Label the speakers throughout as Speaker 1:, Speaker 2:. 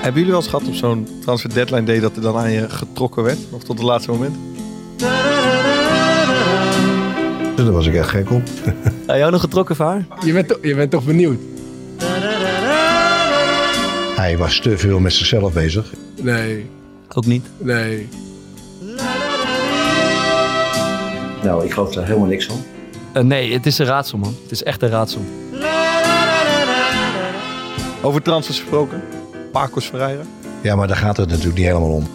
Speaker 1: Hebben jullie wel eens gehad op zo'n transfer deadline day dat er dan aan je getrokken werd? Of tot het laatste moment?
Speaker 2: Dus Daar was ik echt gek op.
Speaker 3: Nou, jou nog getrokken, Vaar?
Speaker 4: Je bent, toch- je bent toch benieuwd?
Speaker 2: Hij was te veel met zichzelf bezig.
Speaker 4: Nee,
Speaker 3: Ook niet.
Speaker 4: nee.
Speaker 5: Nou, ik geloof daar helemaal niks van.
Speaker 3: Eh, nee, het is een raadsel, man. Het is echt een raadsel.
Speaker 1: Over transfers gesproken. Pacos Ferreira.
Speaker 2: Ja, maar daar gaat het natuurlijk niet helemaal om.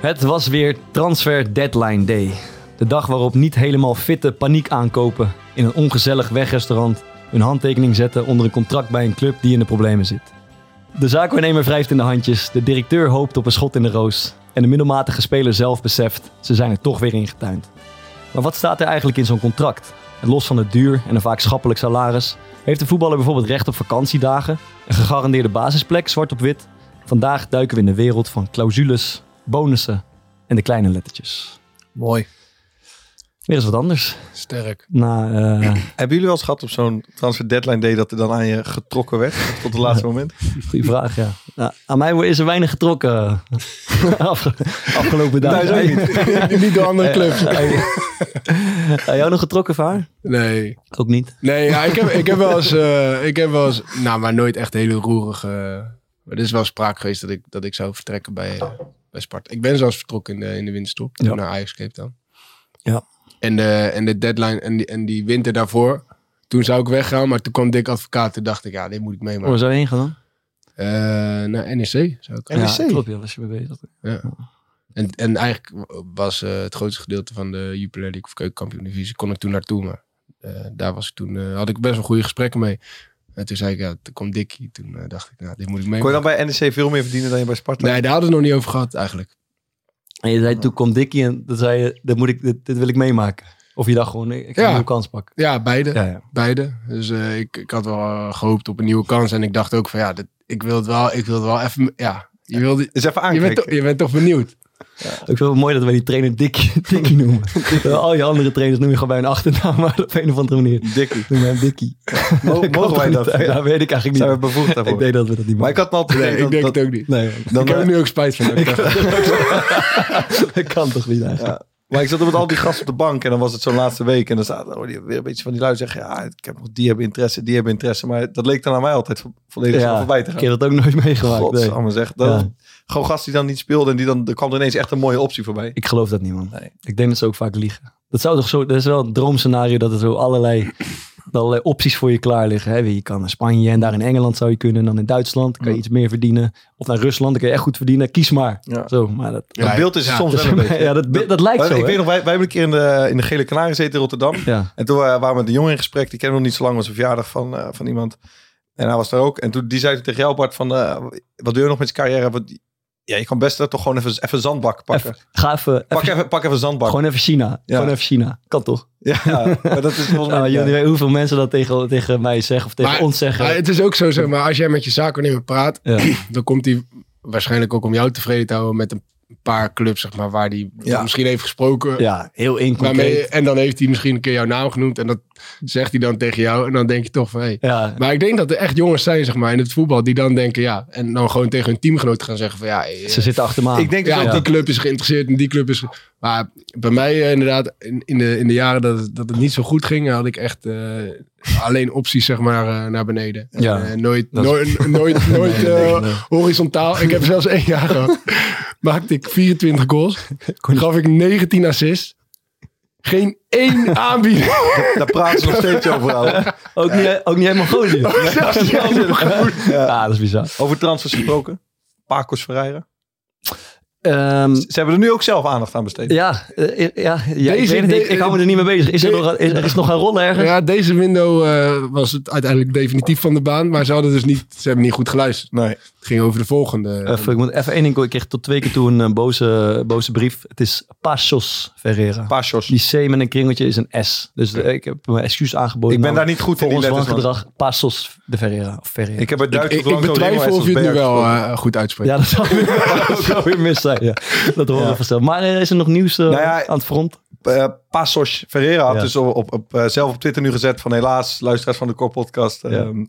Speaker 3: Het was weer Transfer Deadline Day. De dag waarop niet helemaal fitte paniek aankopen in een ongezellig wegrestaurant hun handtekening zetten onder een contract bij een club die in de problemen zit. De zaakwaarnemer wrijft in de handjes, de directeur hoopt op een schot in de roos en de middelmatige speler zelf beseft ze zijn er toch weer ingetuind. Maar wat staat er eigenlijk in zo'n contract? En los van het duur en een vaak schappelijk salaris, heeft de voetballer bijvoorbeeld recht op vakantiedagen, een gegarandeerde basisplek zwart op wit. Vandaag duiken we in de wereld van clausules, bonussen en de kleine lettertjes.
Speaker 4: Mooi.
Speaker 3: Weer eens wat anders.
Speaker 4: Sterk.
Speaker 3: Na, eh,
Speaker 1: Hebben jullie wel eens gehad op zo'n transfer deadline day dat er dan aan je getrokken werd? Tot het laatste moment?
Speaker 3: goede vraag, ja. Nou, aan mij is er weinig getrokken Afge- afgelopen dagen.
Speaker 1: Nee, zo niet.
Speaker 4: Niet door andere clubs.
Speaker 3: Aan jou nog getrokken, Vaar?
Speaker 4: Nee.
Speaker 3: Ook niet.
Speaker 4: Nee, ja, ik, heb, ik heb wel eens... eh, ik heb wel eens... Nou, maar nooit echt hele roerige... Maar er is wel sprake geweest dat ik, dat ik zou vertrekken bij, eh, bij Sparta. Ik ben zelfs vertrokken in de, in de winterstop.
Speaker 3: Ja.
Speaker 4: Toen Naar Ajax Cape Town.
Speaker 3: Ja.
Speaker 4: En de, en de deadline en die, en die winter daarvoor... Toen zou ik weggaan, maar toen kwam Dick Advocaat. Toen dacht ik, ja, dit moet ik
Speaker 3: Waar
Speaker 4: meemaken.
Speaker 3: zou je heen gaan?
Speaker 4: Eh naar NEC zou ik gaan.
Speaker 3: Ja, klopt, ja, was je mee bezig.
Speaker 4: En, en eigenlijk was eh, het grootste gedeelte van de Jupiler League of Keukenkampioen Divisie kon ik toen naartoe. Maar eh, daar was ik toen, eh, had ik best wel goede gesprekken mee. En toen zei ik, ja, toen kwam Dikkie. Toen eh, dacht ik, nou, dit moet ik mee.
Speaker 1: Kon je dan bij NEC veel meer verdienen dan je bij Sparta?
Speaker 4: Nee, daar hadden we het nog niet over gehad eigenlijk.
Speaker 3: En je zei, toen kwam Dickie en dan zei je, dit, moet ik, dit, dit wil ik meemaken. Of je dacht gewoon, ik ga
Speaker 4: Ja.
Speaker 3: een nieuwe kans pakken.
Speaker 4: Ja, beide.
Speaker 3: Ja, ja.
Speaker 4: Beide. Dus eh, ik, ik had wel eh, gehoopt op een nieuwe kans. En ik dacht ook van, ja, dit, ik wil het wel, ik wil het wel even, ja. Je, wil, die-
Speaker 1: Is even
Speaker 4: je, bent,
Speaker 1: aankijken.
Speaker 4: toch- je bent toch benieuwd?
Speaker 3: Ik vind het wel mooi dat wij die trainer Dickie, Dickie noemen. Terwijl Al je andere trainers noem je gewoon bij een achternaam, maar op een of andere manier.
Speaker 1: Dikkie.
Speaker 3: Noem jij hem Dickie.
Speaker 1: Mo-
Speaker 3: kan
Speaker 1: mogen wij
Speaker 3: toch
Speaker 1: dat?
Speaker 3: niet? Ja, weet ik eigenlijk
Speaker 1: Zijn
Speaker 3: niet.
Speaker 1: we bevoegd
Speaker 3: Ik
Speaker 1: daarvoor?
Speaker 3: denk dat we dat niet
Speaker 1: Maar ik
Speaker 3: mogen.
Speaker 1: had me altijd
Speaker 4: Nee, ik denk
Speaker 1: dat,
Speaker 4: het ook niet.
Speaker 3: Nee,
Speaker 1: dan,
Speaker 4: ik heb
Speaker 1: eh,
Speaker 4: er nu ook spijt van. Ik dacht,
Speaker 3: dat kan toch niet eigenlijk.
Speaker 1: Maar ik zat met al die gasten op de bank en dan was het zo'n laatste week. En dan zaten oh, die, weer een beetje van die lui zeggen, ja, ik heb nog, die hebben interesse, die hebben interesse. Maar dat leek dan aan mij altijd vo- volledig
Speaker 3: Ja,
Speaker 1: voorbij te
Speaker 3: Ik
Speaker 1: gaan.
Speaker 3: heb dat ook nooit meegemaakt. nee.
Speaker 1: Godsamme zeg. Dat,
Speaker 3: Ja.
Speaker 1: Gewoon gast die dan niet speelde en die dan, er kwam er ineens echt een mooie optie voorbij.
Speaker 3: Ik geloof dat niet, man.
Speaker 1: Nee.
Speaker 3: Ik denk dat ze ook vaak liegen. Dat, zou toch zo, dat is wel een droomscenario dat er zo allerlei, allerlei opties voor je klaar liggen. Hè? Je kan naar Spanje en daar in Engeland zou je kunnen. En dan in Duitsland kan je iets meer verdienen. Of naar Rusland, dan kan je echt goed verdienen. Kies maar.
Speaker 1: Ja.
Speaker 3: Zo, maar dat,
Speaker 1: Dat
Speaker 4: Ja,
Speaker 1: beeld is er
Speaker 4: ja,
Speaker 1: soms
Speaker 3: dat,
Speaker 1: wel een beetje.
Speaker 3: ja, dat, dat lijkt
Speaker 1: Maar
Speaker 3: zo,
Speaker 1: ik
Speaker 3: hè?
Speaker 1: weet nog, wij, wij hebben een keer in de, in de Gele Kanarie gezeten in Rotterdam.
Speaker 3: Ja.
Speaker 1: En toen eh, waren we met een jongen in gesprek. Die kennen we nog niet zo lang. was een verjaardag van, eh, van iemand. En hij was daar ook. En toen die zei tegen jou, Bart, van, eh, wat doe je nog met je carrière? Want ja, je kan best daar toch gewoon even, even zandbak pakken.
Speaker 3: Even- ga even, even-
Speaker 1: pak, even, pak even zandbak.
Speaker 3: gewoon even China.
Speaker 1: Ja.
Speaker 3: Gewoon even China. Kan toch?
Speaker 1: Ja, maar dat is volgens mij...
Speaker 3: Nou,
Speaker 1: ja.
Speaker 3: jullie weten hoeveel mensen dat tegen, tegen mij zeggen of tegen
Speaker 4: Maar-
Speaker 3: ons zeggen.
Speaker 4: Maar het is ook zo, zeg maar, als jij met je zakennemer praat,
Speaker 3: Ja.
Speaker 4: dan komt hij waarschijnlijk ook om jou tevreden te houden met een paar clubs, zeg maar, waar hij
Speaker 1: Ja.
Speaker 4: misschien heeft gesproken.
Speaker 3: ja, heel
Speaker 4: Waarmee,
Speaker 3: inconcreet.
Speaker 4: en dan heeft hij misschien een keer jouw naam genoemd en dat zegt hij dan tegen jou. En dan denk je toch van, hé.
Speaker 3: Ja,
Speaker 4: Maar ik denk dat er echt jongens zijn, zeg maar, in het voetbal, die dan denken, ja. En dan gewoon tegen hun teamgenoot gaan zeggen van, ja, eh,
Speaker 3: ze zitten achter me aan.
Speaker 1: Ik denk dus
Speaker 4: ja,
Speaker 1: ook
Speaker 4: die
Speaker 1: dat...
Speaker 4: club is geïnteresseerd en die club is... ge- Maar bij mij eh, inderdaad, in, in, de, in de jaren dat, het- dat het niet zo goed ging, had ik echt eh, alleen opties zeg maar eh, naar beneden.
Speaker 3: Ja.
Speaker 4: En, eh, nooit,
Speaker 3: Dat
Speaker 4: nooit, nooit, nooit eh, horizontaal. Ik heb zelfs één jaar gehad. maakte ik 24 goals. Gaf ik 19 assists. Geen één aanbieder.
Speaker 1: Daar praten ze nog steeds over. ouwe.
Speaker 3: Ook,
Speaker 1: Eh,
Speaker 3: niet, ook niet helemaal goed.
Speaker 1: Oh, Ja.
Speaker 3: Ja, dat is bizar.
Speaker 1: Over transfers gesproken. Pacos Ferreira.
Speaker 3: Ehm,
Speaker 1: Ze hebben er nu ook zelf aandacht aan besteed.
Speaker 3: ja, eh, ja, ja, ik,
Speaker 4: Deze-
Speaker 3: weet het niet. ik,
Speaker 4: de-
Speaker 3: ik hou me er niet mee bezig. Is er,
Speaker 4: de-
Speaker 3: nog, is, er is nog een rol ergens?
Speaker 4: Ja, deze window eh, was het uiteindelijk definitief van de baan. Maar ze hadden dus niet, ze hebben niet goed geluisterd.
Speaker 1: Nee.
Speaker 4: Het ging over de volgende.
Speaker 3: Even, Eh, ik moet even één ding. Ik kreeg tot twee keer toe een eh, boze, boze brief. Het is Pasos Ferreira.
Speaker 1: Pachos.
Speaker 3: Die C met een kringeltje is een S. Dus eh, ik heb mijn excuus aangeboden. Nou,
Speaker 1: Ik ben daar
Speaker 3: namelijk
Speaker 1: niet goed in,
Speaker 3: voor
Speaker 1: die
Speaker 3: ons
Speaker 1: letters. man.
Speaker 3: wangedrag. Pasos de Ferreira. Of Ferreira.
Speaker 1: Ik heb het
Speaker 4: ik,
Speaker 1: Duits
Speaker 4: ik, ik betwijfel of je het nu wel eh, goed uitspreekt.
Speaker 3: Ja, dat zou, dat zou weer mis zijn. Ja. Dat horen
Speaker 1: Ja.
Speaker 3: we vanzelf. Maar eh, is er nog nieuws eh,
Speaker 1: Nou ja,
Speaker 3: aan het front?
Speaker 1: eh Passos Ferreira had
Speaker 3: Ja.
Speaker 1: dus op, op, op, eh, zelf op Twitter nu gezet van helaas, luisteraars van de Core Podcast. ehm,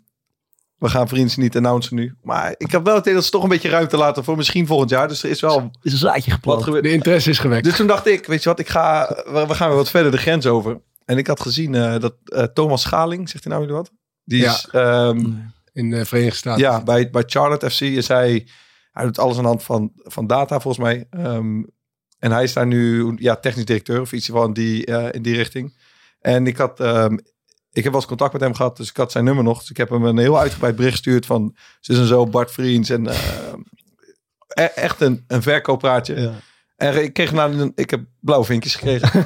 Speaker 1: we gaan vrienden niet announcen nu. Maar ik heb wel het idee dat ze toch een beetje ruimte laten voor misschien volgend jaar. Dus er is wel
Speaker 3: Is een zaadje
Speaker 1: wat
Speaker 3: geplant?
Speaker 1: gebeurd.
Speaker 4: De interesse is gewekt.
Speaker 1: Dus toen dacht ik, weet je wat, ik ga, we, we gaan weer wat verder de grens over. En ik had gezien eh, dat eh, Thomas Schaling, zegt hij nou jullie wat? Die
Speaker 4: Ja.
Speaker 1: is ehm,
Speaker 4: in de Verenigde Staten.
Speaker 1: ja, bij, bij Charlotte FC is hij... Hij doet alles aan de hand van, van data, volgens mij. Ehm, en hij is daar nu ja, technisch directeur of iets van die, eh, in die richting. En ik had... ehm, ik heb wel eens contact met hem gehad, dus ik had zijn nummer nog. Dus ik heb hem een heel uitgebreid bericht gestuurd van... Ze is en zo, Bart Vriends. En ehm, e- echt een, een verkooppraatje. En ik, kreeg nou een, ik heb blauwe vinkjes gekregen.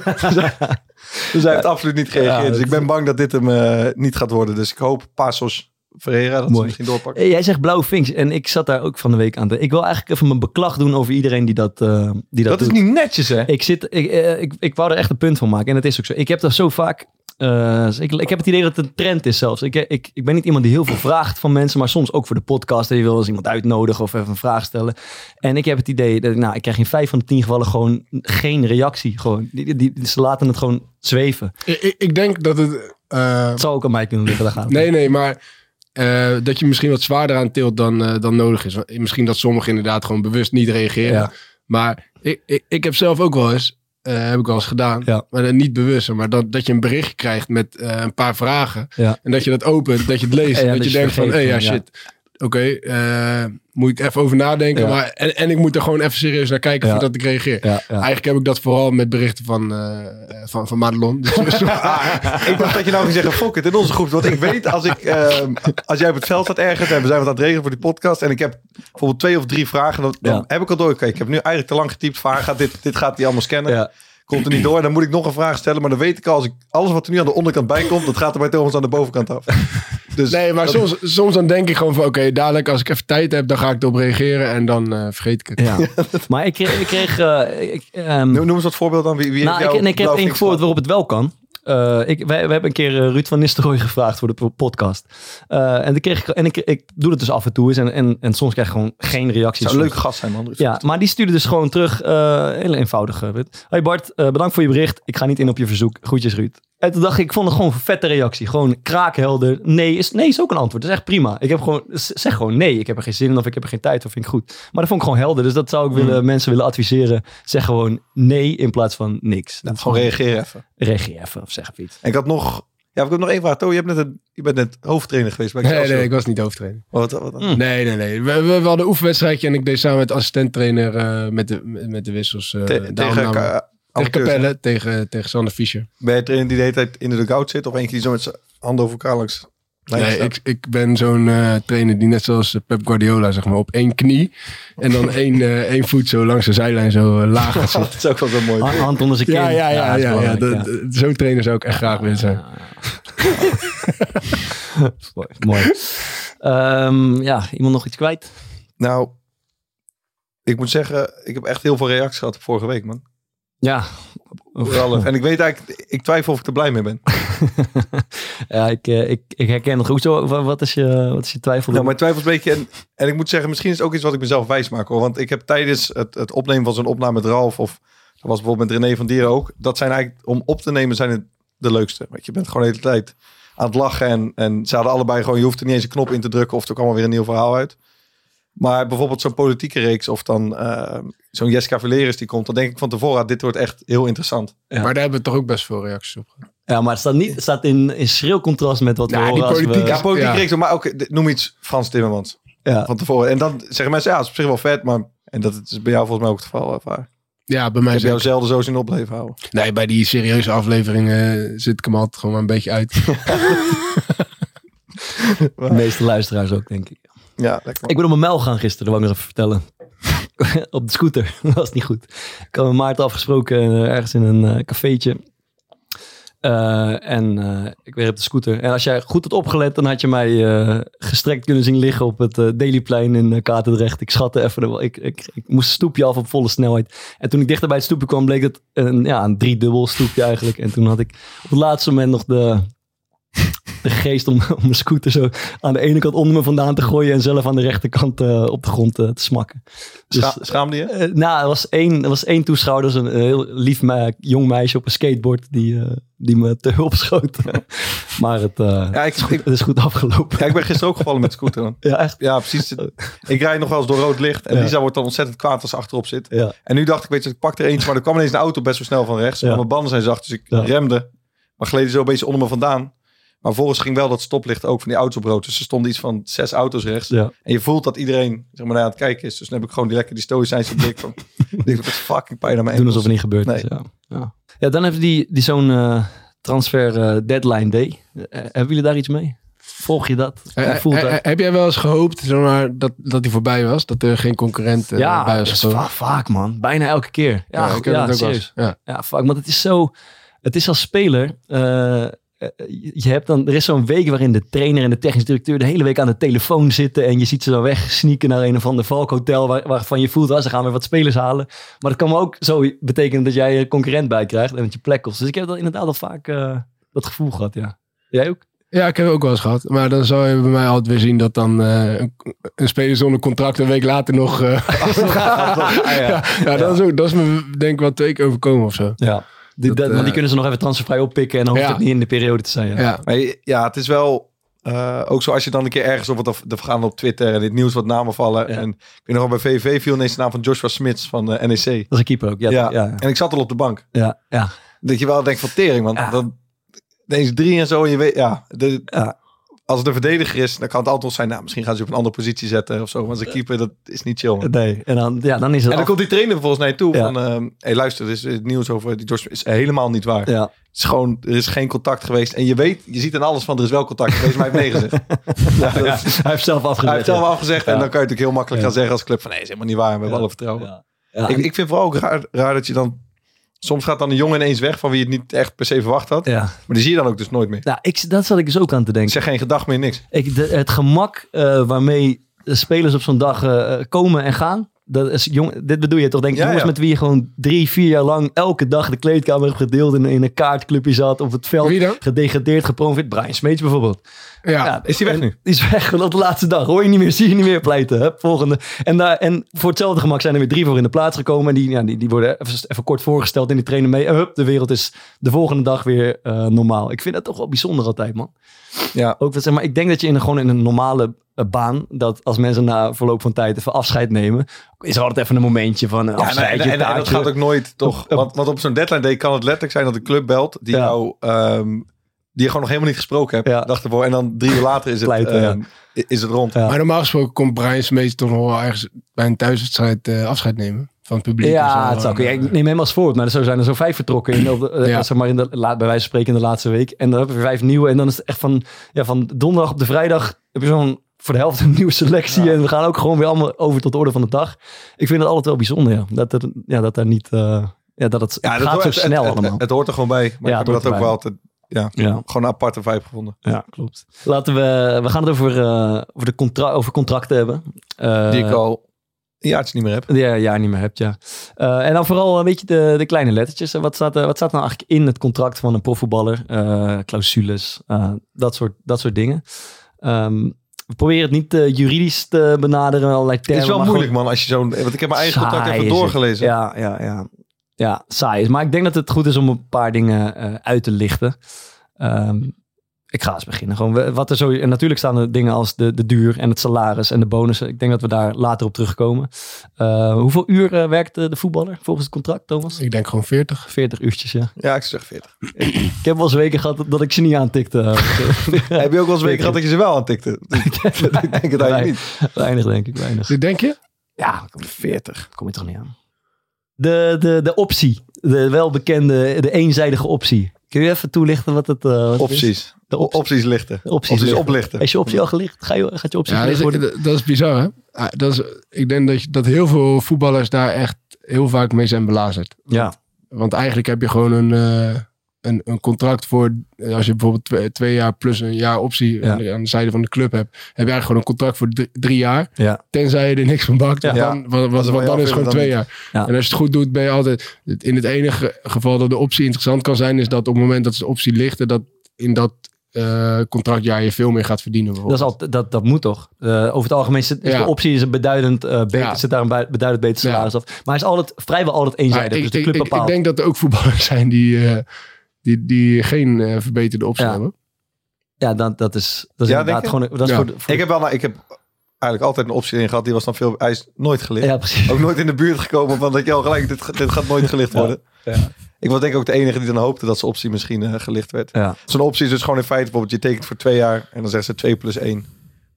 Speaker 1: dus hij heeft absoluut niet gereageerd.
Speaker 3: Ja,
Speaker 1: dus
Speaker 3: dat-
Speaker 1: ik ben bang dat dit hem eh, niet gaat worden. Dus ik hoop Pasos Ferreira dat ze
Speaker 3: Mooi.
Speaker 1: misschien doorpakken.
Speaker 3: Eh, Jij zegt blauwe vinks en ik zat daar ook van de week aan. te- Ik wil eigenlijk even mijn beklag doen over iedereen die dat, eh, die dat,
Speaker 1: Dat,
Speaker 3: doet.
Speaker 1: is niet netjes, hè?
Speaker 3: Ik, zit, ik, eh, ik, ik wou er echt een punt van maken. En dat is ook zo. Ik heb dat zo vaak. eh, ik, ik heb het idee dat het een trend is zelfs. Ik, ik, ik ben niet iemand die heel veel vraagt van mensen, maar soms ook voor de podcast. Je wil eens iemand uitnodigen of even een vraag stellen. En ik heb het idee dat nou, ik krijg in vijf van de tien gevallen gewoon geen reactie. Gewoon. Die, die, die- ze laten het gewoon zweven.
Speaker 4: Ik, ik- ik denk dat het... eh,
Speaker 3: Het zou ook aan mij kunnen liggen. Daar gaat het
Speaker 4: nee, nee, maar... eh, dat je misschien wat zwaarder aan tilt dan, eh, dan nodig is. Want Misschien dat sommigen inderdaad gewoon bewust niet reageren.
Speaker 3: Ja.
Speaker 4: Maar ik, ik, ik heb zelf ook wel eens, eh, heb ik wel eens gedaan,
Speaker 3: Ja.
Speaker 4: maar dan niet bewust, maar dat, dat je een bericht krijgt met eh, een paar vragen.
Speaker 3: Ja.
Speaker 4: En dat je dat opent, dat je het leest.
Speaker 3: Ja,
Speaker 4: en dat,
Speaker 3: dat
Speaker 4: je
Speaker 3: je
Speaker 4: denkt van, hé,
Speaker 3: vergeet
Speaker 4: ja,
Speaker 3: van, ja.
Speaker 4: shit. Oké, eh, moet ik even over nadenken.
Speaker 3: Ja.
Speaker 4: Maar, en, en ik moet er gewoon even serieus naar kijken
Speaker 3: Ja.
Speaker 4: voordat ik reageer.
Speaker 3: Ja, ja.
Speaker 4: Eigenlijk heb ik dat vooral met berichten van, eh, van, van Madelon. Dus-
Speaker 1: ik dacht dat je nou ging zeggen, fuck it, in onze groep. Want ik weet, als, ik, ehm, als jij op het veld staat ergens en we zijn wat aan het regelen voor die podcast. En ik heb bijvoorbeeld twee of drie vragen. Dan, dan
Speaker 3: Ja.
Speaker 1: heb ik al door. Kijk, ik heb nu eigenlijk te lang getypt. Vaar gaat dit, dit gaat die allemaal scannen.
Speaker 3: Ja.
Speaker 1: Komt er niet door. Dan moet ik nog een vraag stellen. Maar dan weet ik al, als ik, alles wat er nu aan de onderkant bij komt, dat gaat er bij Thomas aan de bovenkant af. Dus
Speaker 4: nee, maar
Speaker 1: dat-
Speaker 4: soms, soms dan denk ik gewoon van, oké, dadelijk als ik even tijd heb, dan ga ik erop reageren. En dan eh, vergeet ik het.
Speaker 3: Ja. Maar ik kreeg. Ik kreeg eh, ik, ehm,
Speaker 1: Noem, noem eens wat voorbeeld dan. Wie, wie
Speaker 3: nou,
Speaker 1: heeft jou
Speaker 3: ik, en ik heb
Speaker 1: blauw
Speaker 3: één
Speaker 1: vinks
Speaker 3: voorbeeld waarop het wel kan. Eh, ik, wij, we hebben een keer eh, Ruud van Nistelrooy gevraagd voor de po- podcast. Eh, en dan kreeg ik, en ik, ik doe dat dus af en toe eens. En, en, en soms krijg ik gewoon geen reactie.
Speaker 1: Het zou
Speaker 3: Soms-
Speaker 1: een leuke gast zijn, man.
Speaker 3: ja, maar die stuurde dus gewoon terug. eh heel eenvoudig. eh, weet. Hey Bart, eh, bedankt voor je bericht. Ik ga niet in op je verzoek. Groetjes Ruud. En toen dacht ik, ik vond het gewoon een vette reactie. Gewoon kraakhelder. Nee is, nee is ook een antwoord. Dat is echt prima. Ik heb gewoon, z- zeg gewoon nee. Ik heb er geen zin in of ik heb er geen tijd of vind ik goed. Maar dat vond ik gewoon helder. Dus dat zou ik
Speaker 4: Mm.
Speaker 3: willen, mensen willen adviseren. Zeg gewoon nee in plaats van niks. Dat is
Speaker 1: Gewoon reageer even.
Speaker 3: Reageer even of zeg even iets.
Speaker 1: En ik had nog... Ja, ik heb nog één vraag. Toon, je, hebt net een, je bent net hoofdtrainer geweest bij
Speaker 4: Nee,
Speaker 1: Excelsior.
Speaker 4: nee, ik Hmm. was niet hoofdtrainer.
Speaker 1: Wat, wat dan?
Speaker 4: Nee, nee, nee. We, we, we hadden een oefenwedstrijdje en ik deed samen met assistent-trainer eh, met, de, met de wissels. eh,
Speaker 1: Te-
Speaker 4: de
Speaker 1: tegen
Speaker 4: aanname.
Speaker 1: ka-
Speaker 4: tegen
Speaker 1: amateurs, hè?
Speaker 4: Capelle, tegen, tegen Sander Fischer.
Speaker 1: Ben je trainer die de hele tijd in de dugout zit? Of eentje die zo met zijn handen over elkaar langs?
Speaker 4: Nee,
Speaker 1: Nee,
Speaker 4: ik, ik ben zo'n eh, trainer die net zoals eh, Pep Guardiola, zeg maar, op één knie en dan één, eh, één voet zo langs de zijlijn zo eh, laag gaat zitten.
Speaker 1: Dat is ook wel zo mooi.
Speaker 3: Ha- Hand onder zijn kin.
Speaker 4: Ja, ja, ja.
Speaker 3: dat is
Speaker 4: ja, ja,
Speaker 3: belangrijk,
Speaker 4: dat- dat- Zo'n trainer zou ik echt graag willen zijn.
Speaker 3: Mooi. mooi. Ehm, ja, iemand nog iets kwijt?
Speaker 1: Nou, ik moet zeggen, ik heb echt heel veel reacties gehad vorige week, man.
Speaker 3: Ja.
Speaker 1: Vooral- En ik weet eigenlijk, ik twijfel of ik er blij mee ben.
Speaker 3: ja, ik, eh, ik, ik herken het goed. Zo, wa- wat, is je, wat is je twijfel?
Speaker 1: Nou, mijn twijfel is een beetje... En, en ik moet zeggen, misschien is het ook iets wat ik mezelf wijs maak, hoor. Want ik heb tijdens het, het opnemen van zo'n opname met Ralf... of dat was bijvoorbeeld met René van Dieren ook... dat zijn eigenlijk, om op te nemen, zijn het de leukste. Want je bent gewoon de hele tijd aan het lachen. En, en ze hadden allebei gewoon... je hoeft er niet eens een knop in te drukken... of er kwam er weer een nieuw verhaal uit. Maar bijvoorbeeld zo'n politieke reeks... of dan eh, zo'n Jessica Valeris die komt... dan denk ik van tevoren, ah, dit wordt echt heel interessant.
Speaker 3: Ja.
Speaker 4: Maar daar hebben we toch ook best veel reacties op gehad.
Speaker 3: ja, maar het staat, niet, het staat in, in schril contrast met wat we
Speaker 4: Nou, die
Speaker 3: horen als we-
Speaker 4: politiek-
Speaker 1: Ja, politieke
Speaker 4: Ja.
Speaker 1: reeks, maar ook... noem iets Frans Timmermans.
Speaker 3: Dus, ja.
Speaker 1: Van tevoren. En dan zeggen mensen, ja, het is op zich wel vet, maar... En dat is bij jou volgens mij ook het geval, ervaar.
Speaker 4: Ja, bij
Speaker 1: Ik
Speaker 4: mij
Speaker 1: heb jou
Speaker 4: zelfs.
Speaker 1: zelden zo zien opleven houden.
Speaker 4: Nee, bij die serieuze afleveringen eh, zit ik hem altijd gewoon maar een beetje uit.
Speaker 3: De meeste luisteraars ook, denk ik.
Speaker 1: Ja, lekker.
Speaker 3: Ik ben op mijn mijl gaan gisteren, dat wou ik nog even vertellen. op de scooter, dat was niet goed. Ik had met Maarten afgesproken eh, ergens in een eh, cafeetje. Eh, en eh, ik weer op de scooter. En als jij goed had opgelet, dan had je mij eh, gestrekt kunnen zien liggen op het eh, Dailyplein in eh, Katendrecht. Ik schatte even, de- ik, ik, ik moest het stoepje af op volle snelheid. En toen ik dichter bij het stoepje kwam, bleek het een, ja, een driedubbel stoepje eigenlijk. En toen had ik op het laatste moment nog de, de geest om, om mijn scooter zo aan de ene kant onder me vandaan te gooien en zelf aan de rechterkant eh, op de grond eh, te smakken. Dus,
Speaker 1: Scha- schaamde je?
Speaker 3: eh, nou, er was één, er was één toeschouwer, dat was een eh, heel lief me- jong meisje op een skateboard die, eh, die me te hulp schoot. maar het, eh,
Speaker 1: Ja, ik, ik,
Speaker 3: het is goed afgelopen.
Speaker 1: ja, ik ben gisteren ook gevallen met de scooter dan.
Speaker 3: Ja, echt.
Speaker 1: Ja, precies. Ik rijd nog wel eens door rood licht. En
Speaker 3: Ja.
Speaker 1: Lisa wordt dan ontzettend kwaad als ze achterop zit.
Speaker 3: Ja.
Speaker 1: En nu dacht ik, weet je, ik pak er eentje. Maar er kwam ineens een auto best wel snel van rechts.
Speaker 3: Ja.
Speaker 1: Maar mijn banden zijn zacht, dus ik
Speaker 3: Ja.
Speaker 1: remde. Maar gleden zo een beetje onder me vandaan. Maar volgens ging wel dat stoplicht ook van die auto's op rood. Dus er stonden iets van zes auto's rechts.
Speaker 3: Ja.
Speaker 1: En je voelt dat iedereen zeg maar, naar aan het kijken is. Dus dan heb ik gewoon die lekker die stoïcijnse blik van... ik denk dat het fucking pijn aan mijn
Speaker 3: Doen
Speaker 1: enkels.
Speaker 3: alsof het niet gebeurd is.
Speaker 1: Nee.
Speaker 3: Ja. Ja. ja, dan hebben die, die zo'n eh, transfer eh, deadline day. Eh, hebben jullie daar iets mee? Volg je dat?
Speaker 4: Eh,
Speaker 3: Hoe voelt
Speaker 4: eh,
Speaker 3: dat?
Speaker 4: eh, heb jij wel eens gehoopt zomaar, dat, dat die voorbij was? Dat er geen concurrent eh,
Speaker 3: ja,
Speaker 4: bij
Speaker 3: dat
Speaker 4: was
Speaker 3: is
Speaker 4: gekomen?
Speaker 3: va- vaak man. Bijna elke keer. Ja,
Speaker 4: ik
Speaker 3: goed,
Speaker 4: heb
Speaker 3: ja,
Speaker 4: dat ook wel
Speaker 3: serieus.
Speaker 4: eens. Ja.
Speaker 3: Ja, fuck. Want het is zo. Het is als speler. eh, eh, je hebt dan, er is zo'n week waarin de trainer en de technisch directeur de hele week aan de telefoon zitten. En je ziet ze dan weg sneaken naar een of ander valkhotel. Waar, waarvan je voelt, ah, ze gaan weer wat spelers halen. Maar dat kan ook zo betekenen dat jij een concurrent bij krijgt. En dat je plek kost. Dus ik heb dat inderdaad al vaak eh, dat gevoel gehad. Ja. Jij ook?
Speaker 4: Ja, ik heb het ook wel eens gehad. Maar dan zou je bij mij altijd weer zien dat dan eh, een, een speler zonder contract een week later nog... eh,
Speaker 1: Ah, ja.
Speaker 4: ja, ja, dat is ook, dat is me denk ik wel twee keer overkomen of zo.
Speaker 3: Ja. Die,
Speaker 4: Dat,
Speaker 3: dat- want
Speaker 4: eh,
Speaker 3: die kunnen ze nog even transfervrij oppikken. En dan hoeft
Speaker 4: Ja.
Speaker 3: het niet in de periode te zijn. Ja.
Speaker 4: Ja,
Speaker 1: Maar je- ja, het is wel eh, ook zo als je dan een keer ergens op wat er gaan op Twitter en dit nieuws wat namen vallen.
Speaker 3: Ja.
Speaker 1: En ik weet nog wel, bij VV viel ineens de naam van Joshua Smits van eh, NEC.
Speaker 3: Dat is een keeper ook. Ja,
Speaker 1: Ja.
Speaker 3: ja. ja,
Speaker 1: En ik zat al op de bank.
Speaker 3: ja, ja.
Speaker 1: Dat je wel denkt van tering, want
Speaker 3: Ja.
Speaker 1: dan ineens drie en zo. En je weet, ja, de-
Speaker 3: Ja.
Speaker 1: als het een verdediger is, dan kan het altijd nog zijn. Nou, misschien gaan ze je op een andere positie zetten of zo. Want ze keeper, dat is niet chill. man.
Speaker 3: Nee. En dan, ja, dan is het
Speaker 1: En dan
Speaker 3: af.
Speaker 1: komt die trainer volgens mij toe
Speaker 3: Ja.
Speaker 1: van, ehm, hey, luister, dit is het nieuws over die Joshua is helemaal niet waar.
Speaker 3: Ja.
Speaker 1: Het is gewoon, er is geen contact geweest. En je weet, je ziet aan alles van, er is wel contact geweest, maar hij heeft nee gezegd. Ja, dat-
Speaker 3: Hij heeft zelf afgezegd.
Speaker 1: Hij heeft zelf afgezegd. En
Speaker 3: Ja.
Speaker 1: dan kan je natuurlijk heel makkelijk
Speaker 3: Ja.
Speaker 1: gaan zeggen als club van... nee, is helemaal niet waar. We hebben
Speaker 3: Ja.
Speaker 1: alle vertrouwen.
Speaker 3: Ja. Ja,
Speaker 1: Ik, ik vind vooral ook raar, raar dat je dan... Soms gaat dan een jongen ineens weg van wie je het niet echt per se verwacht had.
Speaker 3: ja.
Speaker 1: Maar die zie je dan ook dus nooit meer.
Speaker 3: Nou, ik, dat zat ik dus ook aan te
Speaker 1: Ik
Speaker 3: denken.
Speaker 1: zeg geen gedag meer, niks.
Speaker 3: Ik, de- het gemak eh, waarmee de spelers op zo'n dag eh, eh, komen en gaan. Dat is, jong, dit bedoel je toch? Denk ik,
Speaker 1: Ja,
Speaker 3: jongens
Speaker 1: ja.
Speaker 3: met wie je gewoon drie, vier jaar lang elke dag de kleedkamer hebt gedeeld. In, in een kaartclubje zat. Op het veld.
Speaker 4: Wie dan?
Speaker 3: Gedegradeerd, gepromoveerd. Brian Smeets bijvoorbeeld.
Speaker 4: ja.
Speaker 3: Ja,
Speaker 1: Is die weg
Speaker 3: en-
Speaker 1: nu?
Speaker 3: Die is weg, want op de laatste dag hoor je niet meer, zie je niet meer pleiten. Hup, volgende. En, daar, en voor hetzelfde gemak zijn er weer drie voor in de plaats gekomen. En die, ja, die, die worden even, even kort voorgesteld en die trainen mee. En hup, de wereld is de volgende dag weer eh, normaal. Ik vind dat toch wel bijzonder altijd, man.
Speaker 1: Ja.
Speaker 3: Ook, dat, zeg maar, ik denk dat je in, een- gewoon in een normale eh, baan, dat als mensen na verloop van tijd even afscheid nemen, is er altijd even een momentje van een
Speaker 1: Ja, en, en-
Speaker 3: afscheidje,
Speaker 1: en- en dat
Speaker 3: taartje.
Speaker 1: gaat ook nooit, toch? Want, want op zo'n deadline day kan het letterlijk zijn dat de club belt... die
Speaker 3: Ja.
Speaker 1: jou... ehm, die je gewoon nog helemaal niet gesproken hebt.
Speaker 3: Ja.
Speaker 1: Dacht ervoor. En dan drie uur later is het,
Speaker 3: Pleiten, ja.
Speaker 1: ehm, i- is het rond.
Speaker 3: Ja.
Speaker 4: Maar normaal gesproken komt Brian Smeets toch nog wel ergens bij een thuiswedstrijd eh, afscheid nemen van het publiek. en
Speaker 3: Ja,
Speaker 4: zo.
Speaker 3: het zou kunnen. Ja,
Speaker 4: Eh,
Speaker 3: ik neem hem als voorbeeld, maar er zo zijn er zo vijf vertrokken. In de, eh,
Speaker 4: Ja.
Speaker 3: zeg maar in de, la- bij wijze van spreken in de laatste week. En dan hebben we vijf nieuwe. En dan is het echt van, ja, van donderdag op de vrijdag heb je zo'n voor de helft een nieuwe selectie. En we gaan ook gewoon weer allemaal over tot de orde van de dag. Ik vind het altijd wel bijzonder, ja. Dat, het, ja, dat daar niet... eh, ja, dat het,
Speaker 1: Ja,
Speaker 3: gaat
Speaker 1: hoort-
Speaker 3: zo
Speaker 1: het-
Speaker 3: snel
Speaker 1: het, het-
Speaker 3: allemaal.
Speaker 1: Het, hoort er gewoon bij. Maar
Speaker 3: Ja,
Speaker 1: ik heb
Speaker 3: het hoort
Speaker 1: dat ook
Speaker 3: erbij.
Speaker 1: wel altijd... Ja,
Speaker 3: ja.
Speaker 1: gewoon een aparte vibe gevonden.
Speaker 3: Ja, klopt. Laten we, we gaan het over, eh, over, de contra over contracten hebben. Eh,
Speaker 1: Die ik al een jaartje niet meer heb.
Speaker 3: Ja, ja, niet meer hebt, ja. Eh, en dan vooral een beetje de, de kleine lettertjes. En Wat staat, er- wat staat er nou eigenlijk in het contract van een profvoetballer? Eh, clausules, eh, dat, soort, dat soort dingen. Ehm, we proberen het niet eh, juridisch te benaderen, allerlei
Speaker 1: Het
Speaker 3: termen.
Speaker 1: is wel
Speaker 3: maar
Speaker 1: moeilijk, man, als je zo'n... Want ik heb mijn eigen
Speaker 3: Saai
Speaker 1: contact even
Speaker 3: is het.
Speaker 1: doorgelezen.
Speaker 3: Ja, ja, ja. Ja, saai is. Maar ik denk dat het goed is om een paar dingen eh, uit te lichten. Ehm, ik ga eens beginnen. Gewoon, we- wat er zo, en natuurlijk staan er dingen als de, de duur en het salaris en de bonussen. Ik denk dat we daar later op terugkomen. Eh, hoeveel uur eh, werkt eh, de voetballer volgens het contract, Thomas?
Speaker 4: Ik denk gewoon 40.
Speaker 3: 40 uurtjes, ja.
Speaker 1: Ja, ik zeg 40.
Speaker 3: Ik heb wel eens weken gehad dat- dat ik ze niet aantikte.
Speaker 1: Heb je ook wel eens weken
Speaker 3: Zeker.
Speaker 1: gehad dat je ze wel aantikte? ik denk het eigenlijk
Speaker 3: Weinig-
Speaker 1: niet.
Speaker 3: Weinig, denk ik, weinig.
Speaker 4: Denk je?
Speaker 3: Ja,
Speaker 1: 40.
Speaker 3: kom je toch niet aan. De, de, de optie. De welbekende, de eenzijdige optie. Kun je even toelichten wat het eh, wat het is?
Speaker 1: Opties.
Speaker 3: De
Speaker 1: O-
Speaker 3: optie.
Speaker 1: Opties lichten.
Speaker 3: Opties
Speaker 1: Opties
Speaker 3: lichten.
Speaker 1: oplichten.
Speaker 3: Is je optie al gelicht? Ga je, gaat je optie
Speaker 4: Ja,
Speaker 3: gelicht
Speaker 4: dat is,
Speaker 3: worden?
Speaker 4: dat- dat is bizar, hè? Ah, Dat is, ik denk dat, je, dat heel veel voetballers daar echt heel vaak mee zijn belazerd.
Speaker 3: Ja.
Speaker 4: Want eigenlijk heb je gewoon een, eh, een, een contract voor... Als je bijvoorbeeld twee, twee jaar plus een jaar optie
Speaker 3: Ja.
Speaker 4: aan, de, aan de zijde van de club hebt... heb je eigenlijk gewoon een contract voor drie, drie jaar.
Speaker 3: Ja.
Speaker 4: Tenzij je er niks van bakt.
Speaker 3: Ja.
Speaker 4: want Dan, want, want-
Speaker 1: wil
Speaker 4: want
Speaker 1: je
Speaker 4: dan is het gewoon
Speaker 1: afwillen,
Speaker 4: twee
Speaker 1: dan
Speaker 4: jaar.
Speaker 3: Ja.
Speaker 4: En als je het goed doet, ben je altijd... In het enige geval dat de optie interessant kan zijn... is dat op het moment dat de optie ligt... en dat in dat eh, contractjaar je veel meer gaat verdienen.
Speaker 3: Dat, is
Speaker 4: bijvoorbeeld.
Speaker 3: altijd, dat, dat moet toch? Eh, over het algemeen zit, is
Speaker 4: Ja.
Speaker 3: de optie is een beduidend, eh beter,
Speaker 4: Ja.
Speaker 3: zit daar een bui- beduidend beter
Speaker 4: Ja.
Speaker 3: salaris af. Maar hij is altijd, vrijwel altijd eenzijdig.
Speaker 4: Maar
Speaker 3: dus de club bepaalt.
Speaker 4: denk dat er ook voetballers zijn die, eh, die, die geen eh, verbeterde optie
Speaker 3: Ja.
Speaker 4: hebben.
Speaker 3: ja, dat, dat is, dat is
Speaker 1: Ja, denk
Speaker 3: inderdaad
Speaker 1: je?
Speaker 3: gewoon... een- Dat is
Speaker 4: Ja.
Speaker 3: voor, de- voor-
Speaker 1: Ik heb wel, nou, ik heb eigenlijk altijd een optie in gehad. Die was dan veel, hij is nooit gelicht.
Speaker 3: ja, precies.
Speaker 1: Ook nooit in de buurt gekomen van dat je al gelijk, dit, ga- dit gaat nooit gelicht
Speaker 3: Ja.
Speaker 1: worden. Ik was denk ik ook de enige die dan hoopte dat zijn optie misschien eh, gelicht werd.
Speaker 3: Ja.
Speaker 1: Zo'n optie is dus gewoon in feite, bijvoorbeeld je tekent voor twee jaar en dan zeggen ze 2 plus 1.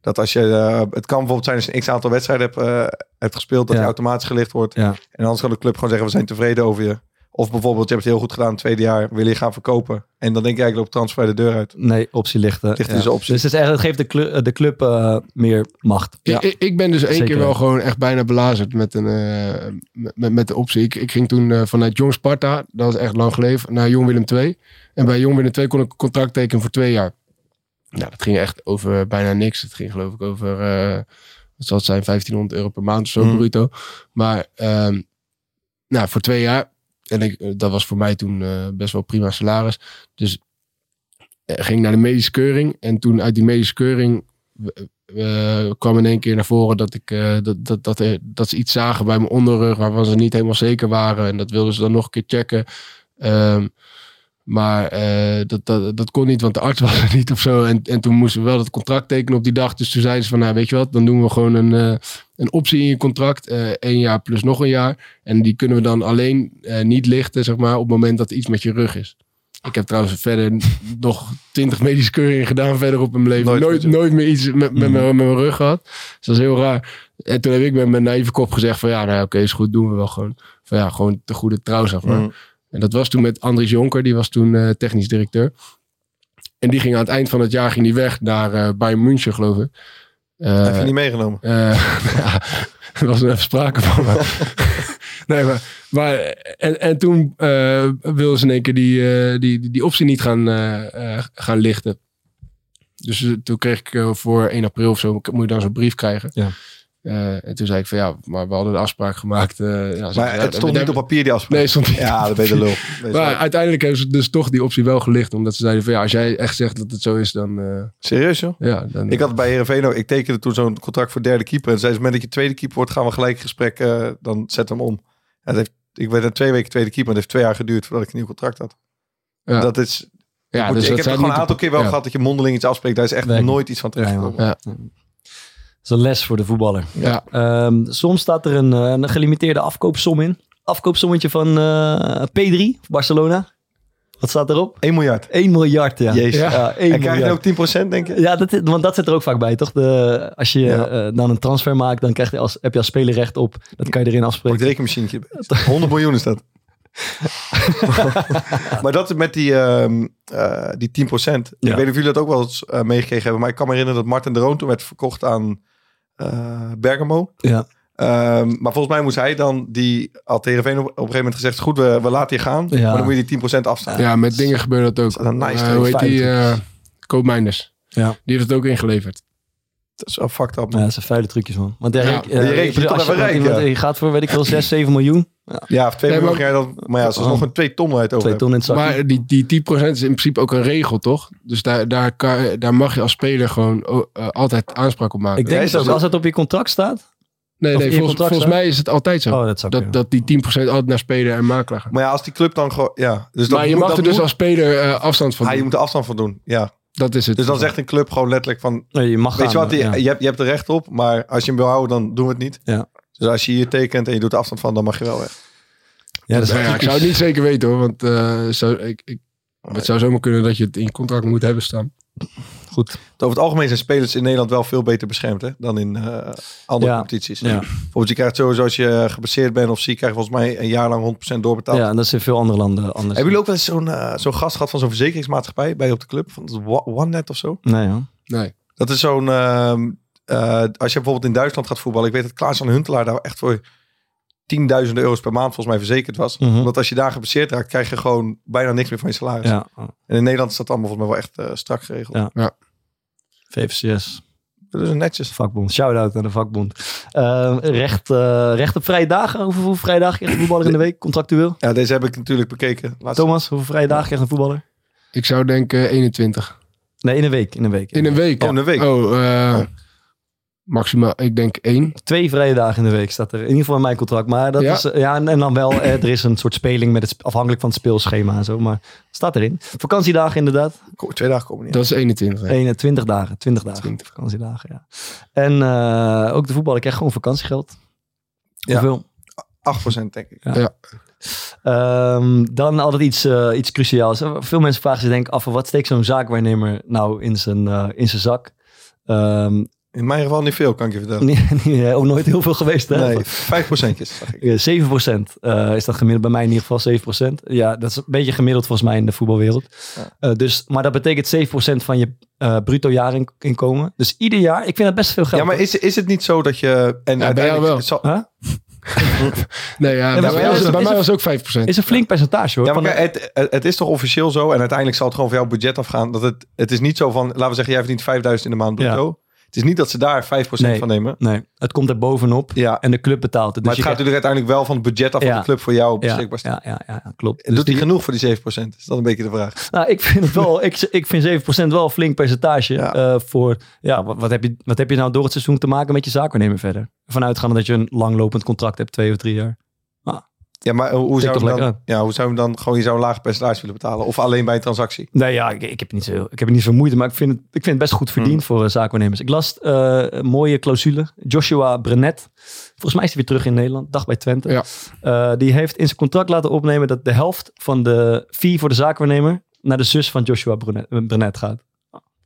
Speaker 1: Dat als je, eh, het kan bijvoorbeeld zijn als je een x aantal wedstrijden hebt, eh, hebt gespeeld, dat
Speaker 3: Ja.
Speaker 1: je automatisch gelicht wordt.
Speaker 3: Ja.
Speaker 1: En anders kan de club gewoon zeggen, we zijn tevreden over je. Of bijvoorbeeld, je hebt het heel goed gedaan, het tweede jaar, wil je gaan verkopen. En dan denk je eigenlijk, loop transfer de deur uit.
Speaker 3: Nee, optie lichten.
Speaker 1: Ligt
Speaker 3: ja.
Speaker 1: dus een optie.
Speaker 3: Dus het, is echt, het geeft de club, de club eh, meer macht.
Speaker 4: Ik- Ik, ik ben dus één
Speaker 3: Zeker.
Speaker 4: keer wel gewoon echt bijna belazerd met, een, eh, met, met de optie. Ik, ik ging toen eh, vanuit Jong Sparta, dat is echt lang geleden, naar Jong Willem II. En bij Jong Willem II kon ik een contract tekenen voor twee jaar. Nou, dat ging echt over bijna niks. Het ging geloof ik over, eh wat zal het zijn, 1500 euro per maand of zo,
Speaker 1: Mm.
Speaker 4: bruto. Maar ehm, nou, voor twee jaar. En ik, eh, dat was voor mij toen eh, best wel prima salaris. Dus eh, ging naar de medische keuring. En toen uit die medische keuring eh, kwam in één keer naar voren dat, ik, eh, dat, dat, dat, er- dat ze iets zagen bij mijn onderrug waarvan ze niet helemaal zeker waren. En dat wilden ze dan nog een keer checken. Ehm, maar eh, dat, dat, dat kon niet, want de arts was er niet of zo. En, en toen moesten we wel dat contract tekenen op die dag. Dus toen zeiden ze van, nou weet je wat, dan doen we gewoon een, eh, een optie in je contract. eh één jaar plus nog een jaar. En die kunnen we dan alleen eh, niet lichten, zeg maar, op het moment dat er iets met je rug is. Ik heb trouwens verder nog twintig medische keuringen gedaan verder op in mijn leven.
Speaker 1: Nooit
Speaker 4: Nooit,
Speaker 1: met je-
Speaker 4: nooit,
Speaker 1: Mm.
Speaker 4: meer iets met, met,
Speaker 3: Mhm.
Speaker 4: mijn, met mijn rug gehad. Dus dat is heel raar. En toen heb ik met mijn naïeve kop gezegd van, ja, nou oké, is goed, doen we wel gewoon. Van ja, gewoon de goede trouw, zeg
Speaker 1: Mm.
Speaker 4: maar. En dat was toen met Andries Jonker, die was toen eh, technisch directeur. En die ging aan het eind van het jaar ging die weg naar eh Bayern München, geloof ik. Eh,
Speaker 1: Heb je niet meegenomen?
Speaker 4: eh, ja, er was er even sprake van. Maar. nee, maar, maar en, en toen eh wilden ze in één keer die, eh, die, die, die optie niet gaan, eh, eh, gaan lichten. Dus eh, toen kreeg ik eh, voor 1 april of zo, moet je dan zo'n brief krijgen.
Speaker 3: Ja.
Speaker 4: Eh, en toen zei ik van ja, maar we hadden de afspraak gemaakt. eh, ja, ze-
Speaker 1: Maar
Speaker 4: ja,
Speaker 1: het stond
Speaker 4: daar-
Speaker 1: niet op papier, die afspraak.
Speaker 4: Nee, het stond niet
Speaker 1: Ja, dat ben je de lul. Nee,
Speaker 4: maar
Speaker 1: sorry.
Speaker 4: uiteindelijk hebben ze dus toch die optie wel gelicht. Omdat ze zeiden van ja, als jij echt zegt dat het zo is, dan... eh,
Speaker 1: Serieus, joh?
Speaker 4: ja, dan
Speaker 1: Ik had bij Heerenveen ook, ik tekende toen zo'n contract voor derde keeper. En zei ze, op het moment dat je tweede keeper wordt, gaan we gelijk in gesprek, eh, dan zet hem om. En dat heeft, ik werd er twee weken tweede keeper, maar het heeft twee jaar geduurd voordat ik een nieuw contract had.
Speaker 4: Ja.
Speaker 1: Dat is,
Speaker 4: ja,
Speaker 1: moet-
Speaker 4: dus
Speaker 1: ik heb
Speaker 4: dat staat
Speaker 1: er gewoon een
Speaker 4: niet
Speaker 1: aantal
Speaker 4: op-
Speaker 1: keer wel
Speaker 4: ja.
Speaker 1: gehad dat je mondeling iets afspreekt. Daar is echt
Speaker 3: Werkt
Speaker 1: nooit iets van terecht
Speaker 3: Ja,
Speaker 1: gekomen.
Speaker 4: Ja.
Speaker 3: Dat is een les voor de voetballer.
Speaker 4: Ja.
Speaker 3: Ehm, soms staat er een, eh, een gelimiteerde afkoopsom in. Afkoopsommetje van eh, P3, Barcelona. Wat staat erop?
Speaker 1: 1 miljard.
Speaker 3: 1 miljard, ja.
Speaker 1: Jezus.
Speaker 3: Ja, 1
Speaker 1: En krijg je
Speaker 3: miljard.
Speaker 1: dan ook 10% denk je?
Speaker 3: Ja, dat, is- want dat zit er ook vaak bij, toch? De, als je
Speaker 1: Ja.
Speaker 3: eh, dan een transfer maakt, dan krijg je als, heb je als speler recht op. Dat kan je erin
Speaker 1: Pak het
Speaker 3: afspreken.
Speaker 1: rekenmachientje. 100 miljoen is dat. maar dat met die, ehm, eh, die 10%.
Speaker 3: Ja.
Speaker 1: Ik weet niet of jullie dat ook wel eens eh, meegekregen hebben. Maar ik kan me herinneren dat Martin de Roon toen werd verkocht aan eh, Bergamo.
Speaker 3: Ja.
Speaker 1: Ehm, maar volgens mij moest hij dan die... Had Heerenveen op, op een gegeven moment gezegd... Goed, we, we laten je gaan.
Speaker 3: Ja.
Speaker 1: Maar dan moet je die 10% afstaan.
Speaker 4: Ja, met dingen gebeurt dat
Speaker 1: Dat
Speaker 4: ook.
Speaker 1: is een nice
Speaker 4: Eh, hoe heet
Speaker 1: feit.
Speaker 4: die? eh Koop Meinders.
Speaker 3: Ja.
Speaker 4: Die heeft het ook ingeleverd.
Speaker 1: Dat is wel fucked up.
Speaker 3: Ja, dat zijn vuile trucjes, man. Want
Speaker 4: Ja,
Speaker 3: Erik,
Speaker 4: die
Speaker 3: eh,
Speaker 1: rekent je toch
Speaker 3: als
Speaker 1: even
Speaker 3: want
Speaker 1: rijk,
Speaker 3: iemand-
Speaker 1: ja.
Speaker 3: je gaat voor, weet ik veel, 6, 7 miljoen.
Speaker 1: Ja, of 2
Speaker 4: Nee,
Speaker 1: miljoen ga je dan... Maar ja, ze is nog een 2 ton uit over.
Speaker 3: 2 ton in het zakje.
Speaker 4: Maar die, die 10% is in principe ook een regel, toch? Dus daar, daar, kan, daar mag je als speler gewoon oh, eh, altijd aanspraak op maken.
Speaker 3: ik
Speaker 1: Ja,
Speaker 3: denk
Speaker 1: is
Speaker 3: dat
Speaker 1: dat-
Speaker 3: als het op je contract staat...
Speaker 4: nee,
Speaker 3: of
Speaker 4: nee
Speaker 3: in
Speaker 4: volgens,
Speaker 3: contract
Speaker 4: volgens
Speaker 3: staan?
Speaker 4: mij is het altijd zo.
Speaker 3: Oh, dat zou
Speaker 4: dat,
Speaker 3: kunnen.
Speaker 4: dat die 10% altijd naar speler en makelaar gaat.
Speaker 1: hebben. Maar ja, als die club dan gewoon... Ja, dus dat
Speaker 4: maar je
Speaker 1: moet-
Speaker 4: mag
Speaker 1: dat
Speaker 4: er dus
Speaker 1: moet-
Speaker 4: als speler eh, afstand van
Speaker 1: Ah, je
Speaker 4: doen.
Speaker 1: moet er afstand van doen. Ja.
Speaker 4: Dat is het.
Speaker 1: Dus dan zegt een club gewoon letterlijk van...
Speaker 3: Nee, je mag
Speaker 1: Weet je
Speaker 3: gaan,
Speaker 1: wat, die-
Speaker 3: ja.
Speaker 1: je, hebt, je hebt er recht op, maar als je hem wil houden, dan doen we het niet.
Speaker 3: Ja.
Speaker 1: Dus als je hier tekent en je doet er afstand van, dan mag je wel weg.
Speaker 3: Ja, dat is
Speaker 4: Nou ja, ik zou het niet zeker weten hoor, want eh, zou, ik, ik, het zou zomaar kunnen dat je het in je contract moet hebben staan.
Speaker 3: Goed.
Speaker 1: Over het algemeen zijn spelers in Nederland wel veel beter beschermd hè, dan in eh, andere
Speaker 3: Ja.
Speaker 1: competities.
Speaker 3: Ja.
Speaker 1: Bijvoorbeeld, je krijgt sowieso als je gebaseerd bent of ziek, krijg je volgens mij een jaar lang 100% doorbetaald.
Speaker 3: Ja, en dat is in veel andere landen anders.
Speaker 1: Hebben jullie ook wel eens zo'n eh, zo'n gast gehad van zo'n verzekeringsmaatschappij bij je op de club? Van dat Wa- OneNet of zo?
Speaker 3: Nee, hoor.
Speaker 4: Nee.
Speaker 1: Dat is zo'n... ehm, eh, als je bijvoorbeeld in Duitsland gaat voetballen. Ik weet dat Klaas van Huntelaar daar echt voor tienduizenden euro's per maand volgens mij verzekerd was.
Speaker 3: Mhm.
Speaker 1: Omdat als je daar gebaseerd raakt, krijg je gewoon bijna niks meer van je salaris.
Speaker 3: Ja.
Speaker 1: En in Nederland is dat allemaal volgens mij wel echt eh, strak geregeld.
Speaker 3: Ja. VFCS,
Speaker 1: Dat is netjes.
Speaker 3: vakbond. Shout-out aan de vakbond. Eh, recht, eh, recht op vrije dagen. Hoeveel, hoeveel vrije dagen krijgt een voetballer in de week, contractueel?
Speaker 1: Ja, deze heb ik natuurlijk bekeken. Laatst-
Speaker 3: Thomas, hoeveel vrije dagen krijgt een voetballer?
Speaker 4: Ik zou denken 21.
Speaker 3: Nee, in een week. In een week.
Speaker 4: In een week.
Speaker 1: Oh, in een week.
Speaker 4: Oh, eh,
Speaker 1: Oh.
Speaker 4: maximaal, ik denk één.
Speaker 3: Twee vrije dagen in de week staat er. In ieder geval in mijn contract. Maar dat
Speaker 4: Ja.
Speaker 3: is, eh, ja, en, en dan wel, eh, er is een soort speling met het, sp- afhankelijk van het speelschema en zo. Maar staat erin. Vakantiedagen inderdaad.
Speaker 1: Ko- Twee dagen komen niet.
Speaker 4: Dat is 21. hè.
Speaker 3: 21 dagen. 20 dagen.
Speaker 4: 20.
Speaker 3: Vakantiedagen, ja. En eh, ook de voetballer krijgt gewoon vakantiegeld.
Speaker 1: Ja.
Speaker 3: Hoeveel?
Speaker 1: 8% denk ik.
Speaker 3: Ehm, dan altijd iets, eh, iets cruciaals. Eh, Veel mensen vragen zich denk ik af... wat steekt zo'n zaakwaarnemer nou in zijn, eh, in zijn zak? Ehm,
Speaker 1: In mijn geval niet veel, kan ik je vertellen.
Speaker 3: niet- niet- ook nooit heel veel geweest, hè?
Speaker 1: Nee, 5% zag ik.
Speaker 3: Ja, 7% eh, is dat gemiddeld. Bij mij in ieder geval 7%. Ja, dat is een beetje gemiddeld volgens mij in de voetbalwereld.
Speaker 1: Ja.
Speaker 3: Eh, dus, maar dat betekent 7% van je eh, bruto jaarinkomen. Dus ieder jaar, ik vind dat best veel geld.
Speaker 1: Ja, maar is, is het niet zo dat je... En
Speaker 4: Ja, bij jou
Speaker 1: uiteindelijk
Speaker 4: wel.
Speaker 1: het zal-
Speaker 3: Huh?
Speaker 4: Nee, ja,
Speaker 3: Ja, maar bij
Speaker 4: bij, mij
Speaker 3: jou
Speaker 4: was,
Speaker 3: is-
Speaker 4: bij
Speaker 3: is
Speaker 4: mij
Speaker 3: een-
Speaker 4: was ook 5%.
Speaker 3: is een flink percentage hoor.
Speaker 1: Ja, maar
Speaker 3: van de-
Speaker 1: kijk, het, het, het is toch officieel zo, en uiteindelijk zal het gewoon van jouw budget afgaan. Dat het, het is niet zo van, laten we zeggen, jij verdient 5000 in de maand
Speaker 3: Ja.
Speaker 1: bruto. Het is niet dat ze daar 5%
Speaker 3: Nee.
Speaker 1: van nemen.
Speaker 3: nee, het komt er bovenop
Speaker 1: eh, Ja, maar
Speaker 3: en de club betaalt het.
Speaker 1: het gaat
Speaker 3: Dus je
Speaker 1: natuurlijk uiteindelijk wel van het budget af van
Speaker 3: Ja.
Speaker 1: de club voor jou
Speaker 3: krijgt-
Speaker 1: beschikbaar staat.
Speaker 3: ja, ja, ja, ja, klopt.
Speaker 1: En
Speaker 3: Dus
Speaker 1: doet hij
Speaker 3: die-
Speaker 1: genoeg voor die 7%? Is dat een beetje de vraag?
Speaker 3: Nou, ik vind het wel, ik, ik vind 7% wel een flink percentage.
Speaker 1: Ja.
Speaker 3: eh, voor, ja, wat, wat heb je, wat heb je nou door het seizoen te maken met je zaakwaarnemer verder? Vanuitgaande dat je een langlopend contract hebt, twee of drie jaar.
Speaker 1: Ja, maar eh, hoe zou,
Speaker 3: toch
Speaker 1: je hem
Speaker 3: lekker
Speaker 1: dan, ja, hoe zou je hem dan gewoon je zou een laag percentage willen betalen? Of alleen bij een transactie?
Speaker 3: Nee, ja, ik, ik heb niet zo, ik heb er niet zo moeite, maar ik vind het, ik vind het best goed verdiend
Speaker 1: Hmm.
Speaker 3: voor eh, zaakwaarnemers. Ik las eh, een mooie clausule. Joshua Brenet, volgens mij is hij weer terug in Nederland, dag bij Twente.
Speaker 4: Ja.
Speaker 3: Eh, die heeft in zijn contract laten opnemen dat de helft van de fee voor de zaakwaarnemer naar de zus van Joshua Brenet, Brenet gaat.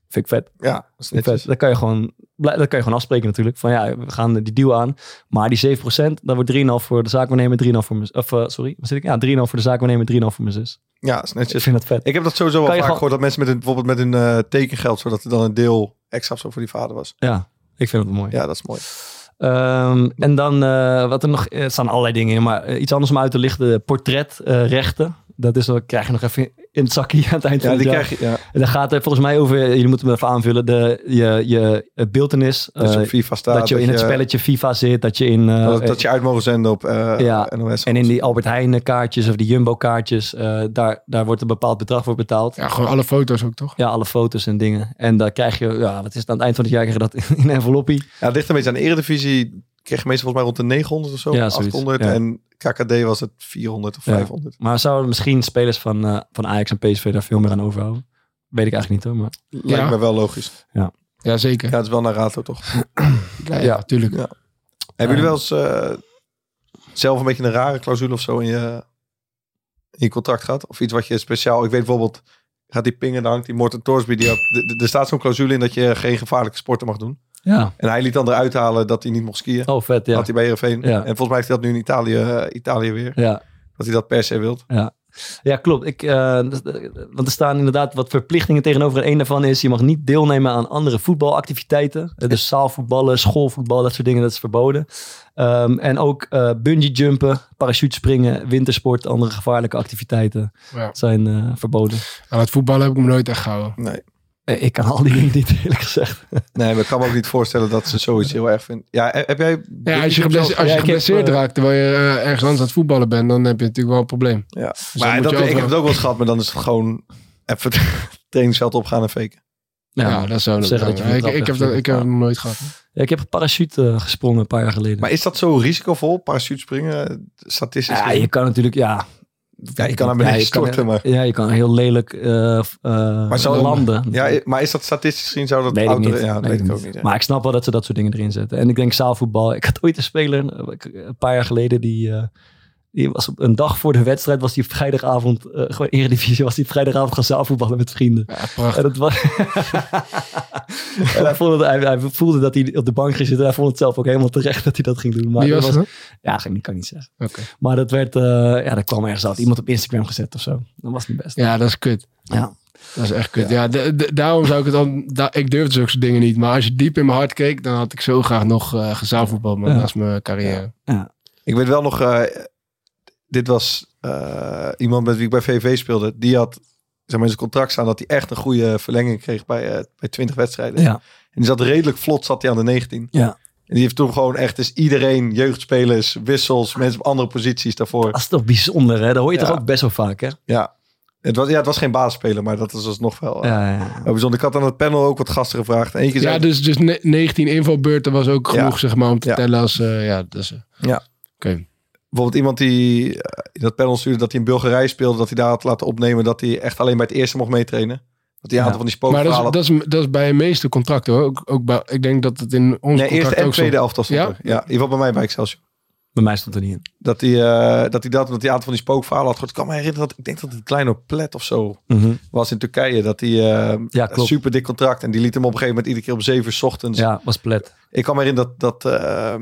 Speaker 3: Vind ik vet.
Speaker 1: Ja, dat is
Speaker 3: Vet.
Speaker 1: netjes.
Speaker 3: Dat kan je gewoon, blij- dat kan je gewoon afspreken natuurlijk. Van ja, we gaan die deal aan. Maar die 7%, dan wordt 3,5 voor de zaakwaarnemer, 3,5 voor mijn Of eh, sorry, waar zit ik? Ja, 3,5 voor de zaakwaarnemer, 3,5 voor mijn zus.
Speaker 1: Ja, dat is
Speaker 3: Ik
Speaker 1: netjes.
Speaker 3: vind dat vet.
Speaker 1: Ik heb dat sowieso wel
Speaker 3: Kan
Speaker 1: vaak
Speaker 3: je gewoon-
Speaker 1: gehoord dat mensen met een, bijvoorbeeld met hun eh, tekengeld, zodat er dan een deel extra of zo voor die vader was.
Speaker 3: Ja, ik vind het mooi.
Speaker 1: Ja, dat is mooi.
Speaker 3: Ehm, en dan, eh, wat er nog, er staan allerlei dingen in, maar eh, iets anders om uit te lichten. Portretrechten. dat is, dat krijg je nog even in het zakje aan het eind
Speaker 1: Ja,
Speaker 3: van
Speaker 1: die
Speaker 3: het jaar.
Speaker 1: krijg je. Ja,
Speaker 3: En daar gaat het volgens mij over, eh, jullie moeten me even aanvullen, de, je, je eh, beeltenis.
Speaker 1: dus
Speaker 3: eh,
Speaker 1: op FIFA staat.
Speaker 3: dat je in het spelletje FIFA zit, dat je in... eh,
Speaker 1: dat, dat je uit mogen zenden op eh
Speaker 3: Ja,
Speaker 1: NOS.
Speaker 3: En in die Albert Heijn eh, kaartjes of die Jumbo kaartjes, eh, daar, daar wordt een bepaald bedrag voor betaald. Ja.
Speaker 4: Ja, gewoon alle foto's ook, toch?
Speaker 3: alle foto's en dingen. En daar krijg je, ja, wat is het aan het eind van het jaar, krijg je dat in een enveloppie.
Speaker 1: Ja, het ligt een beetje aan de eredivisie. Kreeg je meestal volgens mij rond de 900 of zo.
Speaker 3: Ja, zoiets,
Speaker 1: 800.
Speaker 3: ja.
Speaker 1: En KKD was het 400 of
Speaker 3: Ja.
Speaker 1: 500.
Speaker 3: Maar zouden misschien spelers van, eh, van Ajax en PSV daar veel meer aan overhouden? Weet ik eigenlijk niet hoor. Maar
Speaker 1: Lijkt me wel logisch.
Speaker 4: Jazeker.
Speaker 1: Ja, het is wel naar Rato toch.
Speaker 4: Ja,
Speaker 3: Ja.
Speaker 4: ja, tuurlijk.
Speaker 1: Hebben jullie wel eens eh, zelf een beetje een rare clausule of zo in je, in je contract gehad? Of iets wat je speciaal... Ik weet bijvoorbeeld... Gaat die pingen, daar hangt die Morten Torsby. Die had, d- d- er staat zo'n clausule in dat je geen gevaarlijke sporten mag doen.
Speaker 3: ja.
Speaker 1: En hij liet dan eruit halen dat hij niet mocht skiën.
Speaker 3: Oh, vet ja.
Speaker 1: Had hij bij Heerenveen.
Speaker 3: Ja.
Speaker 1: En volgens mij heeft hij dat nu in Italië, eh, Italië weer.
Speaker 3: Ja,
Speaker 1: Dat hij dat per se wilt.
Speaker 3: ja klopt. Ik, eh, dus, eh, want er staan inderdaad wat verplichtingen tegenover. En een daarvan is, je mag niet deelnemen aan andere voetbalactiviteiten. Eh, Dus zaalvoetballen, schoolvoetbal, dat soort dingen, dat is verboden. Ehm, en ook eh bungee jumpen, parachutespringen, wintersport, andere gevaarlijke activiteiten
Speaker 4: Ja.
Speaker 3: zijn eh, verboden.
Speaker 4: Aan het voetballen heb ik me nooit echt gehouden.
Speaker 1: Nee.
Speaker 3: Eh, Ik kan al die dingen niet, eerlijk gezegd.
Speaker 1: Nee, maar ik kan me ook niet voorstellen dat ze zoiets heel erg vindt. Ja, he- heb jij...
Speaker 4: Ja, dus- als je, geblesse-
Speaker 1: geblesseerd
Speaker 4: als
Speaker 3: Ja,
Speaker 4: je
Speaker 3: ik heb,
Speaker 4: geblesseerd
Speaker 3: eh,
Speaker 4: raakt terwijl je eh, ergens anders aan het voetballen bent, dan heb je natuurlijk wel een probleem.
Speaker 1: Ja.
Speaker 4: Dus dan
Speaker 1: Maar
Speaker 4: moet
Speaker 1: dat,
Speaker 4: je
Speaker 1: ik
Speaker 4: overal-
Speaker 1: heb het ook wel eens gehad, maar dan is het gewoon even het trainingsveld opgaan en faken.
Speaker 4: Ja, dat zou dat
Speaker 3: zeggen dat je van de
Speaker 4: zijn. ik,
Speaker 3: trap
Speaker 4: ik heb dat,
Speaker 3: wegvliegt.
Speaker 4: ik heb
Speaker 3: Ja.
Speaker 4: hem nooit gehad. hoor.
Speaker 3: Ja, ik heb een parachute eh, gesprongen een paar jaar geleden.
Speaker 1: Maar is dat zo risicovol, parachutespringen, eh, statistisch?
Speaker 3: ja, je kan natuurlijk, ja. Ja,
Speaker 1: je kan naar beneden storten, maar-
Speaker 3: Ja, je kan heel lelijk eh, f- eh,
Speaker 1: Maar zou-
Speaker 3: landen.
Speaker 1: Ja, i- maar is dat statistisch gezien zou dat
Speaker 3: weet ik
Speaker 1: ouder-
Speaker 3: niet.
Speaker 1: Ja, dat weet ik ook niet. hè.
Speaker 3: Maar ik snap wel dat ze dat soort dingen erin zetten. En ik denk zaalvoetbal. Ik had ooit een speler, eh, een paar jaar geleden, die, eh, Die was op een dag voor de wedstrijd, was hij op vrijdagavond, eh, gewoon Eredivisie, was hij op vrijdagavond gaan zaalvoetballen met vrienden.
Speaker 4: Ja, prachtig.
Speaker 3: En, dat was... en hij, vond het, hij, hij voelde dat hij op de bank ging zitten. Hij vond het zelf ook helemaal terecht dat hij dat ging doen. Maar
Speaker 4: Wie was
Speaker 3: dat
Speaker 4: het?
Speaker 3: Ja, dat kan ik niet zeggen.
Speaker 4: Oké.
Speaker 3: Maar dat werd, eh, ja, dat kwam ergens uit. Iemand op Instagram gezet of zo. Dat was niet best.
Speaker 4: Ja, dat is kut.
Speaker 3: Ja.
Speaker 4: Dat is echt kut. Ja, de- de- daarom zou ik het dan... da- ik durfde zulke soort dingen niet. Maar als je diep in mijn hart keek, dan had ik zo graag nog eh gezaalvoetbal. Maar
Speaker 3: Ja.
Speaker 4: naast mijn carrière.
Speaker 1: Ik weet wel nog, eh, dit was eh, iemand met wie ik bij VV speelde. Die had zeg maar, in zijn contract staan dat hij echt een goede verlenging kreeg bij, eh, bij 20 wedstrijden.
Speaker 3: Ja.
Speaker 1: En die zat redelijk vlot, zat hij aan de 19.
Speaker 3: Ja.
Speaker 1: En die heeft toen gewoon echt dus iedereen, jeugdspelers, wissels, mensen op andere posities daarvoor.
Speaker 3: Dat is toch bijzonder, hè? Dat hoor je
Speaker 1: Ja.
Speaker 3: toch ook best wel vaak, hè?
Speaker 1: Ja, het was, ja, het was geen basisspeler, maar dat is alsnog wel eh,
Speaker 3: Ja, ja, ja.
Speaker 1: heel bijzonder. Ik had aan het panel ook wat gasten gevraagd. Eentje
Speaker 4: Ja,
Speaker 1: zei,
Speaker 4: dus, dus ne- 19 invalbeurten was ook
Speaker 1: Ja.
Speaker 4: genoeg, zeg maar, om te
Speaker 1: Ja.
Speaker 4: tellen als... eh, ja, dat is... eh,
Speaker 1: Ja.
Speaker 4: Oké.
Speaker 1: bijvoorbeeld iemand die eh, in dat panel stuurde dat hij in Bulgarije speelde, dat hij daar had laten opnemen dat hij echt alleen bij het eerste mocht meetrainen. Dat hij een aantal van die
Speaker 4: Maar dat is,
Speaker 1: spookverhalen
Speaker 4: dat, is, dat is bij de meeste contracten hoor. Ook, ook bij, ik denk dat het in ons
Speaker 1: Nee, eerste
Speaker 4: contract
Speaker 1: en
Speaker 4: ook zo...
Speaker 1: tweede elftal stond
Speaker 4: Ja?
Speaker 1: er. Ja, in ieder geval bij mij bij Excelsior.
Speaker 3: Bij mij stond er niet in.
Speaker 1: Dat hij, eh, dat, hij dat, omdat hij een aantal van die spookverhalen had gehoord. Ik kan me herinneren dat, ik denk dat het een kleine plet of zo
Speaker 3: Mhm.
Speaker 1: was in Turkije. Dat hij, eh,
Speaker 3: Ja,
Speaker 1: een
Speaker 3: klopt.
Speaker 1: super dik contract. En die liet hem op een gegeven moment iedere keer om zeven uur 's ochtends.
Speaker 3: Ja, was plet.
Speaker 1: Ik kan me herinneren dat, dat eh,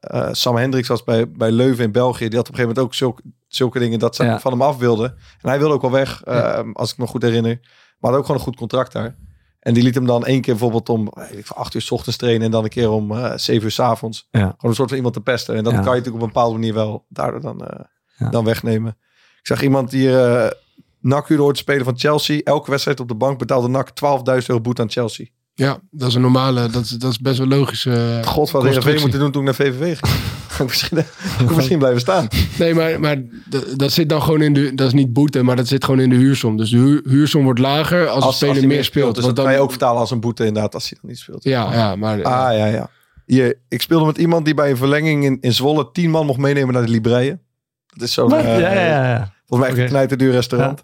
Speaker 1: eh, Sam Hendricks was bij, bij Leuven in België. Die had op een gegeven moment ook zulke, zulke dingen dat ze
Speaker 3: Ja.
Speaker 1: van hem af wilden. En hij wilde ook wel weg, eh, als ik me goed herinner. Maar had ook gewoon een goed contract daar. En die liet hem dan één keer bijvoorbeeld om eh, weet ik veel, acht uur 's ochtends trainen. En dan een keer om eh, zeven uur 's avonds.
Speaker 3: Ja.
Speaker 1: Gewoon een soort van iemand te pesten. En dat
Speaker 3: Ja.
Speaker 1: kan je natuurlijk op een bepaalde manier wel daardoor dan, eh,
Speaker 3: Ja.
Speaker 1: dan wegnemen. Ik zag iemand die eh NAC huurde hoort spelen van Chelsea. Elke wedstrijd op de bank betaalde NAC 12.000 euro boete aan Chelsea.
Speaker 4: Ja, dat is een normale... Dat is, dat is best wel logisch. eh,
Speaker 1: God, wat had RV
Speaker 4: constructie.
Speaker 1: moeten doen toen ik naar VVV ging. Had ik misschien, had ik misschien blijven staan.
Speaker 4: Nee, maar, maar dat, dat zit dan gewoon in de... Dat is niet boete, maar dat zit gewoon in de huursom. Dus de huur- huursom wordt lager als, de
Speaker 1: hij
Speaker 4: speler meer speelt.
Speaker 1: Dus dat
Speaker 4: want
Speaker 1: dan...
Speaker 4: dan,
Speaker 1: kan je ook vertalen als een boete inderdaad, als hij dan niet speelt.
Speaker 4: Ja, ja, maar...
Speaker 1: Ah, ja, ja. Hier, ik speelde met iemand die bij een verlenging in, in Zwolle tien man mocht meenemen naar de Libreien. Dat is zo'n,
Speaker 3: Wat?
Speaker 1: eh,
Speaker 3: ja, ja, ja.
Speaker 1: volgens mij echt
Speaker 3: Oké.
Speaker 1: een knijterduur restaurant.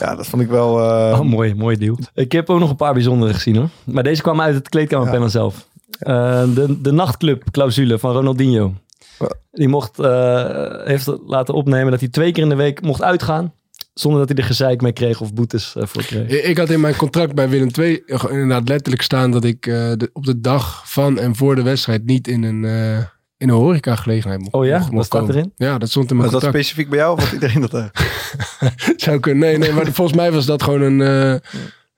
Speaker 1: Ja. dat vond ik wel... eh,
Speaker 3: Oh, mooi, mooi deal. Ik heb ook nog een paar bijzondere gezien hoor. Maar deze kwam uit het kleedkamerpanel zelf. Eh, de, de nachtclub-clausule van Ronaldinho.
Speaker 1: Ja.
Speaker 3: Die mocht, eh, heeft laten opnemen dat hij twee keer in de week mocht uitgaan. Zonder dat hij er gezeik mee kreeg of boetes eh, voor kreeg.
Speaker 4: Ik ik had in mijn contract bij Willem II gewoon inderdaad letterlijk staan dat ik eh, de- op de dag van en voor de wedstrijd niet in een, eh, in een horecagelegenheid mocht
Speaker 3: Oh ja?
Speaker 4: mocht- mocht
Speaker 3: Wat staat
Speaker 4: komen.
Speaker 3: erin?
Speaker 4: Ja, dat stond in
Speaker 1: was
Speaker 4: mijn
Speaker 1: dat
Speaker 4: contract.
Speaker 1: specifiek bij jou of had iedereen dat eh, daar?
Speaker 4: Zou kunnen. Nee, nee, maar volgens mij was dat gewoon een, eh,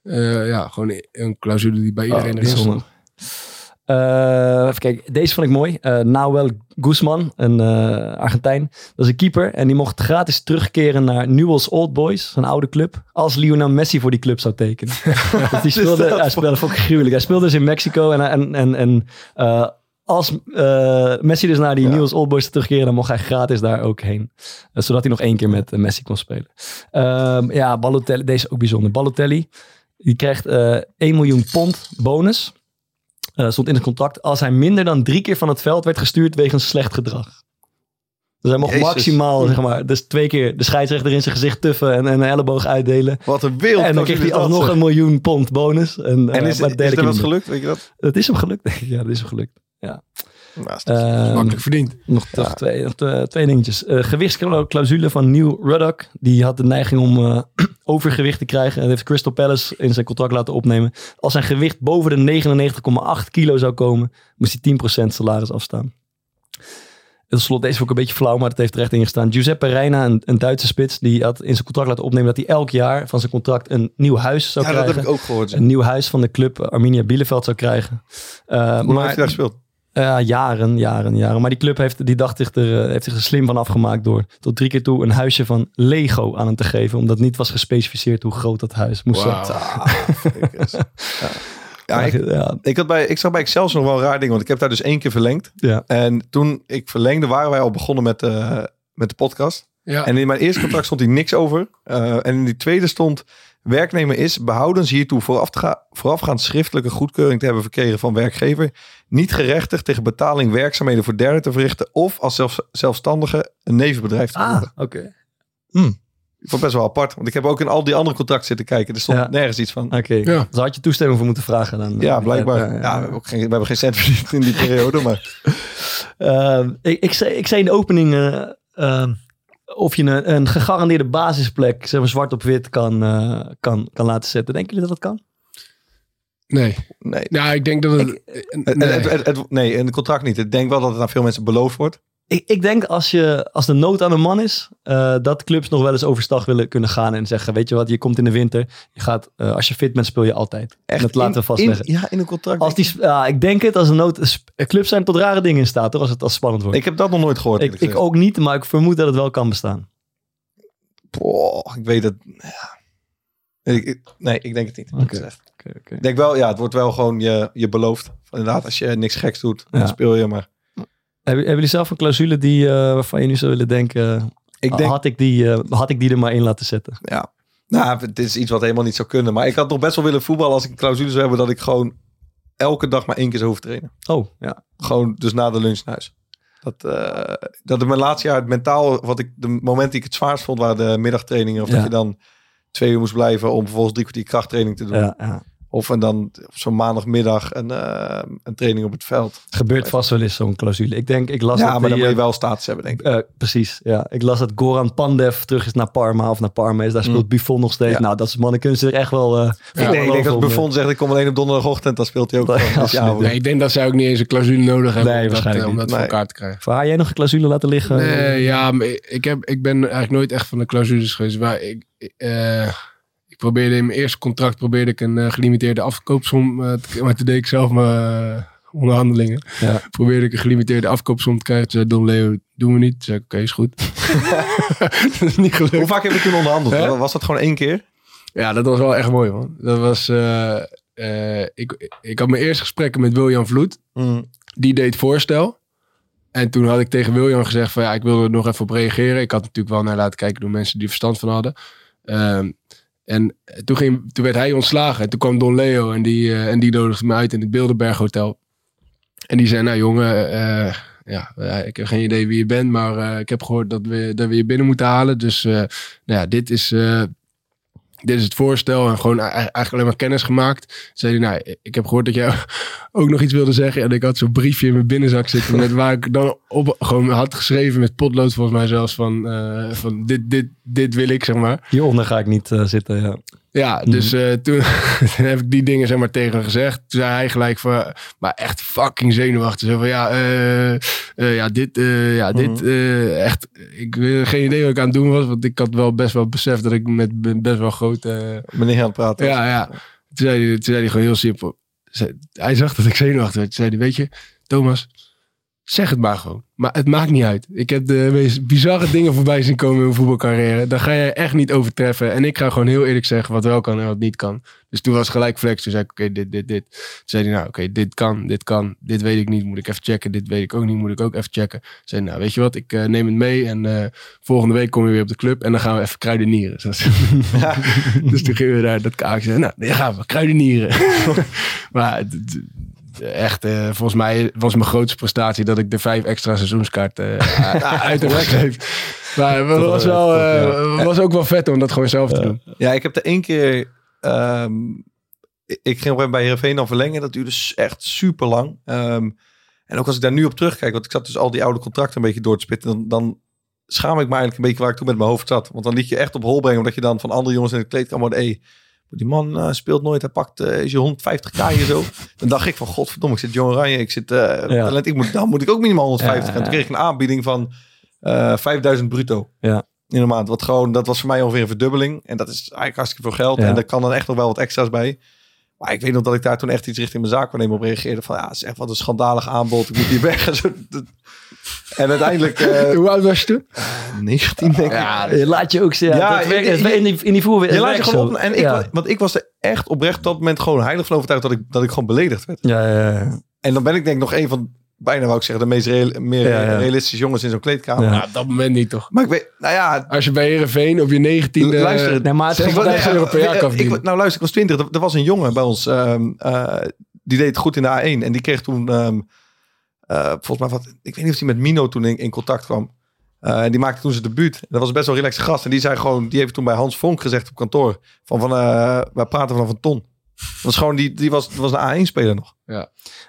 Speaker 4: eh, ja, gewoon een clausule die
Speaker 1: Ah,
Speaker 4: bij iedereen erin
Speaker 3: Oh, bijzonder.
Speaker 4: stond.
Speaker 3: Eh, even kijken, deze vond ik mooi. Eh Nahuel Guzman, een eh, Argentijn. Dat is een keeper en die mocht gratis terugkeren naar Newell's Old Boys, een oude club. Als Lionel Messi voor die club zou tekenen. Want die
Speaker 4: Dus
Speaker 3: speelde, hij speelde vond ik gruwelijk. Hij speelde dus in Mexico en, en, en, en eh, als eh, Messi dus naar die Newell's Old Boys zou terugkeren, dan mocht hij gratis daar ook heen. Eh, zodat hij nog één keer met eh, Messi kon spelen. Ehm, ja, Balotelli, deze ook bijzonder. Balotelli, die krijgt eh 1 miljoen pond bonus. Eh, stond in het contract als hij minder dan drie keer van het veld werd gestuurd wegens slecht gedrag. Dus hij mocht
Speaker 1: Jezus.
Speaker 3: maximaal, zeg maar, dus twee keer de scheidsrechter in zijn gezicht tuffen en, en een elleboog uitdelen.
Speaker 1: Wat een wereld.
Speaker 3: en dan kreeg hij alsnog een miljoen pond bonus. En, eh,
Speaker 1: En is,
Speaker 3: maar
Speaker 1: is,
Speaker 3: derde
Speaker 1: er
Speaker 3: keer
Speaker 1: wat
Speaker 3: niet meer.
Speaker 1: gelukt? Weet je dat?
Speaker 3: Dat is hem gelukt, denk ik. Ja, dat is hem gelukt.
Speaker 1: Nou, is dat-
Speaker 3: Ehm,
Speaker 4: Makkelijk verdiend.
Speaker 3: nog toch twee, nog, eh, twee dingetjes. Eh gewichtsclausule van Neil Ruddock. Die had de neiging om eh, overgewicht te krijgen. En dat heeft Crystal Palace in zijn contract laten opnemen. Als zijn gewicht boven de 99,8 kilo zou komen, moest hij 10% salaris afstaan. En Tot slot, deze vond ik een beetje flauw, maar dat heeft er echt in gestaan. Giuseppe Reina, een, een Duitse spits, die had in zijn contract laten opnemen dat hij elk jaar van zijn contract een nieuw huis zou
Speaker 1: ja, dat
Speaker 3: krijgen.
Speaker 1: heb ik ook gehoord.
Speaker 3: Een nieuw huis van de club eh, Arminia Bielefeld zou krijgen. Eh,
Speaker 1: Hoe lang
Speaker 3: maar-
Speaker 1: heeft hij daar gespeeld?
Speaker 3: Eh, ja, jaren, jaren, jaren. Maar die club heeft, die dacht zich er, eh, heeft zich er slim van afgemaakt door tot drie keer toe een huisje van Lego aan hem te geven. Omdat niet was gespecificeerd hoe groot dat huis moest
Speaker 4: Wauw.
Speaker 3: zijn.
Speaker 1: Ja. Ah, Ja, ik,
Speaker 3: ja,
Speaker 1: ik, had bij, ik zag bij Excelsior nog wel een raar ding, want ik heb daar dus één keer verlengd.
Speaker 3: ja.
Speaker 1: En toen ik verlengde, waren wij al begonnen met, eh, met de podcast.
Speaker 4: Ja.
Speaker 1: En in mijn eerste contract stond hier niks over. Eh, en in die tweede stond... Werknemer is behoudens hiertoe vooraf te ga- voorafgaand schriftelijke goedkeuring te hebben verkregen van werkgever. Niet gerechtigd tegen betaling werkzaamheden voor derden te verrichten. Of als zelfs, zelfstandige een nevenbedrijf te
Speaker 3: Ah,
Speaker 1: voeren.
Speaker 3: oké.
Speaker 1: Ik vond het best wel apart. Want ik heb ook in al die andere contracten zitten kijken. Er stond
Speaker 3: Ja.
Speaker 1: nergens iets van.
Speaker 3: Oké.
Speaker 4: Ja.
Speaker 3: Dus had je toestemming voor moeten vragen dan? eh,
Speaker 1: Ja, blijkbaar. Ja, we, hebben ook geen, we hebben geen cent verdiend in die periode. Maar
Speaker 3: eh, Ehm, ik, ik, zei, ik zei in de opening, eh, ehm, of je een, een gegarandeerde basisplek, zeg maar zwart op wit, kan, eh, kan, kan laten zetten. Denken jullie dat dat kan?
Speaker 4: Nee.
Speaker 1: Nee.
Speaker 4: Nou, ik denk dat het... eh,
Speaker 1: Het-
Speaker 4: nee.
Speaker 1: het- het- het- nee, in het contract niet. Ik denk wel dat het aan veel mensen beloofd wordt.
Speaker 3: Ik, ik denk als, je, als de nood aan een man is, eh, dat clubs nog wel eens overstag willen kunnen gaan en zeggen, weet je wat, je komt in de winter, je gaat, eh, als je fit bent speel je altijd. En dat laten
Speaker 1: in-
Speaker 3: we vastleggen.
Speaker 1: in- ja, in een contract.
Speaker 3: als die, sp- ja, ik denk het, als de nood, sp- eh, clubs zijn tot rare dingen in staat, hoor, als het als het spannend wordt.
Speaker 1: ik heb dat nog nooit gehoord.
Speaker 3: Ik,
Speaker 1: eerlijk
Speaker 3: ik
Speaker 1: gezegd.
Speaker 3: ook niet, maar ik vermoed dat het wel kan bestaan.
Speaker 1: Boah, ik weet het. ja. Ik- ik- nee, ik denk het niet. eerlijk
Speaker 3: Oké.
Speaker 1: gezegd. Ik denk wel, ja, het wordt wel gewoon je, je beloofd. Van inderdaad, als je niks geks doet,
Speaker 3: Ja.
Speaker 1: dan speel je maar.
Speaker 3: Hebben, hebben jullie zelf een clausule die, eh, waarvan je nu zou willen denken,
Speaker 1: Ik
Speaker 3: ah,
Speaker 1: denk,
Speaker 3: had, ik die, eh, had ik die er maar in laten zetten?
Speaker 1: nou, dit is iets wat helemaal niet zou kunnen. Maar ik had nog best wel willen voetballen als ik een clausule zou hebben dat ik gewoon elke dag maar één keer zou hoeven trainen.
Speaker 3: Oh, ja.
Speaker 1: Gewoon dus na de lunch naar huis. Dat, eh, dat in mijn laatste jaar het mentaal, wat ik de momenten die ik het zwaarst vond, waren de middagtrainingen. Of
Speaker 3: Ja.
Speaker 1: dat je dan twee uur moest blijven om vervolgens drie kwartier krachttraining te doen.
Speaker 3: ja, ja.
Speaker 1: Of en dan op zo'n maandagmiddag een, eh, een training op het veld.
Speaker 3: Gebeurt vast wel eens zo'n clausule. Ik denk, ik las
Speaker 1: ja, maar
Speaker 3: dat
Speaker 1: dan
Speaker 3: die,
Speaker 1: moet je
Speaker 3: eh,
Speaker 1: wel status hebben, denk ik.
Speaker 3: eh, precies, ja. Ik las dat Goran Pandev terug is naar Parma of naar Parma is. Daar speelt Buffon nog steeds.
Speaker 1: Mm. Ja.
Speaker 3: Nou, dat is mannen kunnen ze er echt wel... eh,
Speaker 4: Ja,
Speaker 1: nee, ik denk dat
Speaker 3: om, eh,
Speaker 1: Buffon zegt, ik kom alleen op donderdagochtend. Dan speelt hij ook.
Speaker 3: Nee,
Speaker 1: gewoon. Dus ja,
Speaker 3: absoluut
Speaker 4: Nee, ik denk dat zij ook niet eens een clausule nodig hebben
Speaker 3: Nee,
Speaker 4: om dat,
Speaker 3: waarschijnlijk
Speaker 4: eh, om
Speaker 3: niet.
Speaker 4: dat voor
Speaker 1: Nee.
Speaker 4: elkaar te krijgen.
Speaker 3: Waar had jij nog een clausule laten liggen?
Speaker 4: Nee, ja, maar ik- ik, heb, ik ben eigenlijk nooit echt van de clausules geweest. Maar ik, ik, eh, ik probeerde in mijn eerste contract probeerde ik een eh, gelimiteerde afkoopsom. eh, te- maar toen deed ik zelf mijn eh, onderhandelingen.
Speaker 3: Ja.
Speaker 4: Probeerde ik een gelimiteerde afkoopsom te krijgen. Toen zei Don Leo, doen we niet. Toen zei ik, oké, is goed. dat is niet
Speaker 1: Hoe
Speaker 4: gelukt.
Speaker 1: vaak heb je toen onderhandeld?
Speaker 4: Hè?
Speaker 1: Was dat gewoon één keer?
Speaker 4: Ja, dat was wel echt mooi, man. Dat was... eh, eh, ik, ik had mijn eerste gesprekken met William Vloed.
Speaker 1: Hm.
Speaker 4: die deed voorstel. En toen had ik tegen William gezegd van ja, ik wil er nog even op reageren. Ik had natuurlijk wel naar laten kijken door mensen die er verstand van hadden. Ehm, en toen, ging, toen werd hij ontslagen. En toen kwam Don Leo en die, eh, en die nodigde me uit in het Bilderberg Hotel. En die zei, nou jongen, eh, ja, eh, ik heb geen idee wie je bent, maar eh, ik heb gehoord dat we, dat we je binnen moeten halen. Dus eh, nou ja, dit is, eh, dit is het voorstel. En gewoon e- eigenlijk alleen maar kennis gemaakt. Zei hij, nou, ik heb gehoord dat jij ook nog iets wilde zeggen. En ik had zo'n briefje in mijn binnenzak zitten. Met waar ik dan op gewoon had geschreven met potlood volgens mij zelfs. Van, eh, van dit, dit, dit wil ik, zeg maar.
Speaker 3: Hieronder ga ik niet eh, zitten, ja.
Speaker 4: Ja, dus eh, toen, toen heb ik die dingen zeg maar tegen hem gezegd. Toen zei hij gelijk van, maar echt fucking zenuwachtig. Zo van, ja, eh, eh, ja, dit, eh, ja, dit, eh, echt, ik heb geen idee wat ik aan het doen was. Want ik had wel best wel beseft dat ik met be- best wel eh, grote...
Speaker 1: Meneer aan het praten. was.
Speaker 4: ja, ja. Toen zei, hij, toen zei hij gewoon heel simpel. Zei- Hij zag dat ik zenuwachtig werd. Toen zei hij, weet je, Thomas, zeg het maar gewoon. Maar het maakt niet uit. Ik heb de meest bizarre dingen voorbij zien komen in mijn voetbalcarrière. Daar ga jij echt niet overtreffen. En ik ga gewoon heel eerlijk zeggen wat wel kan en wat niet kan. Dus toen was het gelijk flex. Toen zei ik, oké, dit, dit, dit. Toen zei hij, nou, oké, dit kan, dit kan. Dit weet ik niet, moet ik even checken. Dit weet ik ook niet, moet ik ook even checken. Toen zei hij, nou, weet je wat, ik eh, neem het mee. En eh, volgende week kom je weer op de club. En dan gaan we even kruidenieren. Zoals- dus toen gingen we daar dat kaakje. zei, Nou, daar gaan we, kruidenieren. maar het- het- echt, eh, volgens mij was mijn grootste prestatie dat ik de vijf extra seizoenskaarten eh, uit heb gegeven. Maar het was, wel, eh, was ook wel vet om dat gewoon zelf te doen.
Speaker 1: Ja, ik heb er één keer. ehm, ik- ik ging op een bij Heerenveen dan verlengen. Dat duurde s- echt super lang. en ook als ik daar nu op terugkijk, want ik zat dus al die oude contracten een beetje door te spitten, dan, dan schaam ik me eigenlijk een beetje waar ik toen met mijn hoofd zat. Want dan liet je echt op hol brengen, omdat je dan van andere jongens in de kleedkamer hoorde, hey, die man eh, speelt nooit, hij pakt eh, is je 150k hier zo. Dan dacht ik van, godverdomme, ik zit John Oranje, ik zit eh, talent, ik moet, dan moet ik ook minimaal 150.
Speaker 3: Ja,
Speaker 1: En toen kreeg ik een aanbieding van eh, 5000 bruto
Speaker 3: Ja.
Speaker 1: in een maand. Wat gewoon, dat was voor mij ongeveer een verdubbeling. En dat is eigenlijk hartstikke veel geld.
Speaker 3: Ja.
Speaker 1: En daar kan dan echt nog wel wat extra's bij. Maar ik weet nog dat ik daar toen echt iets richting mijn zaakwaarnemer op reageerde. Van ja, het is echt wat een schandalig aanbod. Ik moet hier weg. En zo, dat- en uiteindelijk eh
Speaker 4: Hoe oud was je toen?
Speaker 1: 19 denk ik.
Speaker 4: Ja,
Speaker 3: Je laat je ook ja,
Speaker 1: Ja,
Speaker 3: dat werkt-
Speaker 1: je-
Speaker 3: het werkt in die, in die voerwereld.
Speaker 1: Je laat je gewoon op. En ik,
Speaker 3: ja.
Speaker 1: wa- Want ik was er echt oprecht op dat moment gewoon heilig van overtuigd dat ik, dat ik gewoon beledigd werd.
Speaker 3: Ja, ja, ja.
Speaker 1: En dan ben ik denk ik nog een van, bijna wou ik zeggen, de meest real- meer
Speaker 3: Ja, ja.
Speaker 1: realistische jongens in zo'n kleedkamer.
Speaker 3: Ja.
Speaker 4: Nou, op dat moment niet toch.
Speaker 1: Maar ik weet, nou ja,
Speaker 4: Als je bij Heerenveen op je 19e...
Speaker 1: Luister,
Speaker 3: Nee, maar het
Speaker 4: Zeg,
Speaker 3: ging
Speaker 4: wat-
Speaker 3: wel-
Speaker 4: €1000 euro per jaar
Speaker 1: ik-
Speaker 4: kan
Speaker 1: ik-
Speaker 4: verdienen.
Speaker 1: nou luister, ik was 20. Er, er was een jongen bij ons. ehm, eh, die deed het goed in de A1. En die kreeg toen... ehm, eh, volgens mij wat... Ik weet niet of hij met Mino toen in, in contact kwam. Eh, en die maakte toen zijn debuut. En dat was best wel een relaxed gast. En die zei gewoon... Die heeft toen bij Hans Vonk gezegd op kantoor. Van, van eh, wij praten vanaf een ton. Dat was gewoon, die, die was, dat was een A1-speler nog.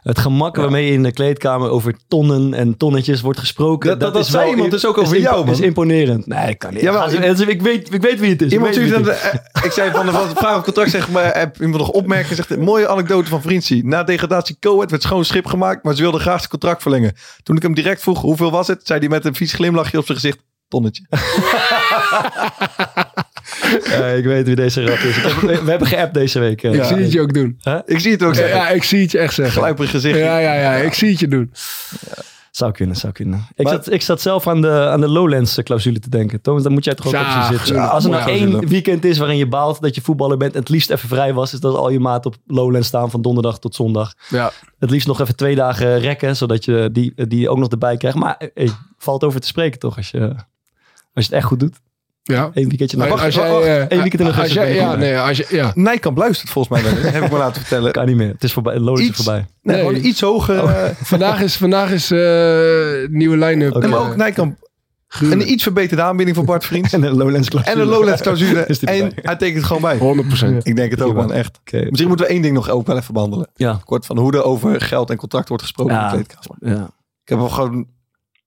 Speaker 3: Het gemak waarmee in de kleedkamer over tonnen en tonnetjes wordt gesproken.
Speaker 1: Dat- dat- dat
Speaker 3: wel
Speaker 1: zei iemand
Speaker 3: im-
Speaker 1: dus ook over
Speaker 3: is imp-
Speaker 1: jou, man.
Speaker 3: is imponerend. Nee, ik kan niet.
Speaker 1: Ja, maar-
Speaker 3: Ga ze- mensen, ik, weet, ik weet wie het is.
Speaker 1: Iemand
Speaker 3: Dus ik weet
Speaker 1: stuurde
Speaker 3: wie
Speaker 1: dat,
Speaker 3: het
Speaker 1: eh, ik zei van de van de vraag op contract, zeg maar, eh, heb iemand nog opmerkingen? Zegt, mooie anekdote van Vriendsie. Na degradatie Coët werd schoon schip gemaakt, maar ze wilde graag zijn contract verlengen. Toen ik hem direct vroeg hoeveel was het, zei hij met een vies glimlachje op zijn gezicht, tonnetje.
Speaker 3: is. Eh, ik weet wie deze rat is. Ik heb- we hebben geappt deze week. eh.
Speaker 4: Ik zie het je ook doen.
Speaker 1: Ik zie het ook
Speaker 4: Ja,
Speaker 1: zeggen.
Speaker 4: ja, ik zie het je echt zeggen.
Speaker 1: Gluiperig gezicht.
Speaker 4: Ja, ja, ja, ik zie het je doen.
Speaker 3: Zou kunnen, zou kunnen. Ik,
Speaker 1: Maar-
Speaker 3: zat, ik zat zelf aan de, aan de Lowlands-clausule te denken. Thomas, daar moet jij toch ook
Speaker 4: Ja,
Speaker 3: op zien zitten.
Speaker 4: tuurlijk.
Speaker 3: Als er
Speaker 4: Mooie
Speaker 3: nou
Speaker 1: clausule.
Speaker 3: één weekend is waarin je baalt dat je voetballer bent... en het liefst even vrij was... is dat al je maat op Lowlands staan van donderdag tot zondag.
Speaker 4: Ja.
Speaker 3: Het liefst nog even twee dagen rekken... zodat je die, die ook nog erbij krijgt. Maar eh, eh, valt over te spreken toch als je, als je het echt goed doet.
Speaker 4: Ja.
Speaker 3: Eén weekendje naar
Speaker 4: Als-
Speaker 3: wacht,
Speaker 4: als jij,
Speaker 3: wacht.
Speaker 4: eh,
Speaker 3: Eén weekend in
Speaker 4: als
Speaker 3: augustus.
Speaker 4: jij,
Speaker 3: ben je
Speaker 4: ja,
Speaker 3: goed.
Speaker 4: nee, als je, ja.
Speaker 1: Nijkamp luistert volgens mij wel eens, heb ik me laten vertellen.
Speaker 3: Kan niet meer. Het is voorbij. Lowlands
Speaker 1: Iets-
Speaker 3: is voorbij.
Speaker 1: Nee,
Speaker 4: Nee.
Speaker 1: gewoon iets hoger. eh,
Speaker 4: Vandaag is, vandaag is eh, nieuwe line-up.
Speaker 3: Oké.
Speaker 1: en
Speaker 4: eh,
Speaker 1: maar ook Nijkamp.
Speaker 4: gruwelijk.
Speaker 1: Een iets verbeterde aanbieding voor Bart Vriends.
Speaker 3: En de Lowlands-clausule.
Speaker 1: En een Lowlands-clausule.
Speaker 3: Is die
Speaker 1: En
Speaker 3: erbij?
Speaker 1: hij tekent gewoon bij.
Speaker 4: 100 procent.
Speaker 1: Ik denk het ook, man. Echt.
Speaker 3: Oké.
Speaker 1: Misschien moeten we één ding nog ook wel even behandelen.
Speaker 3: Ja.
Speaker 1: Kort van hoe er over geld en contract wordt gesproken
Speaker 3: Ja.
Speaker 1: in de kleedkamer.
Speaker 3: Ja.
Speaker 1: Ik heb wel gewoon...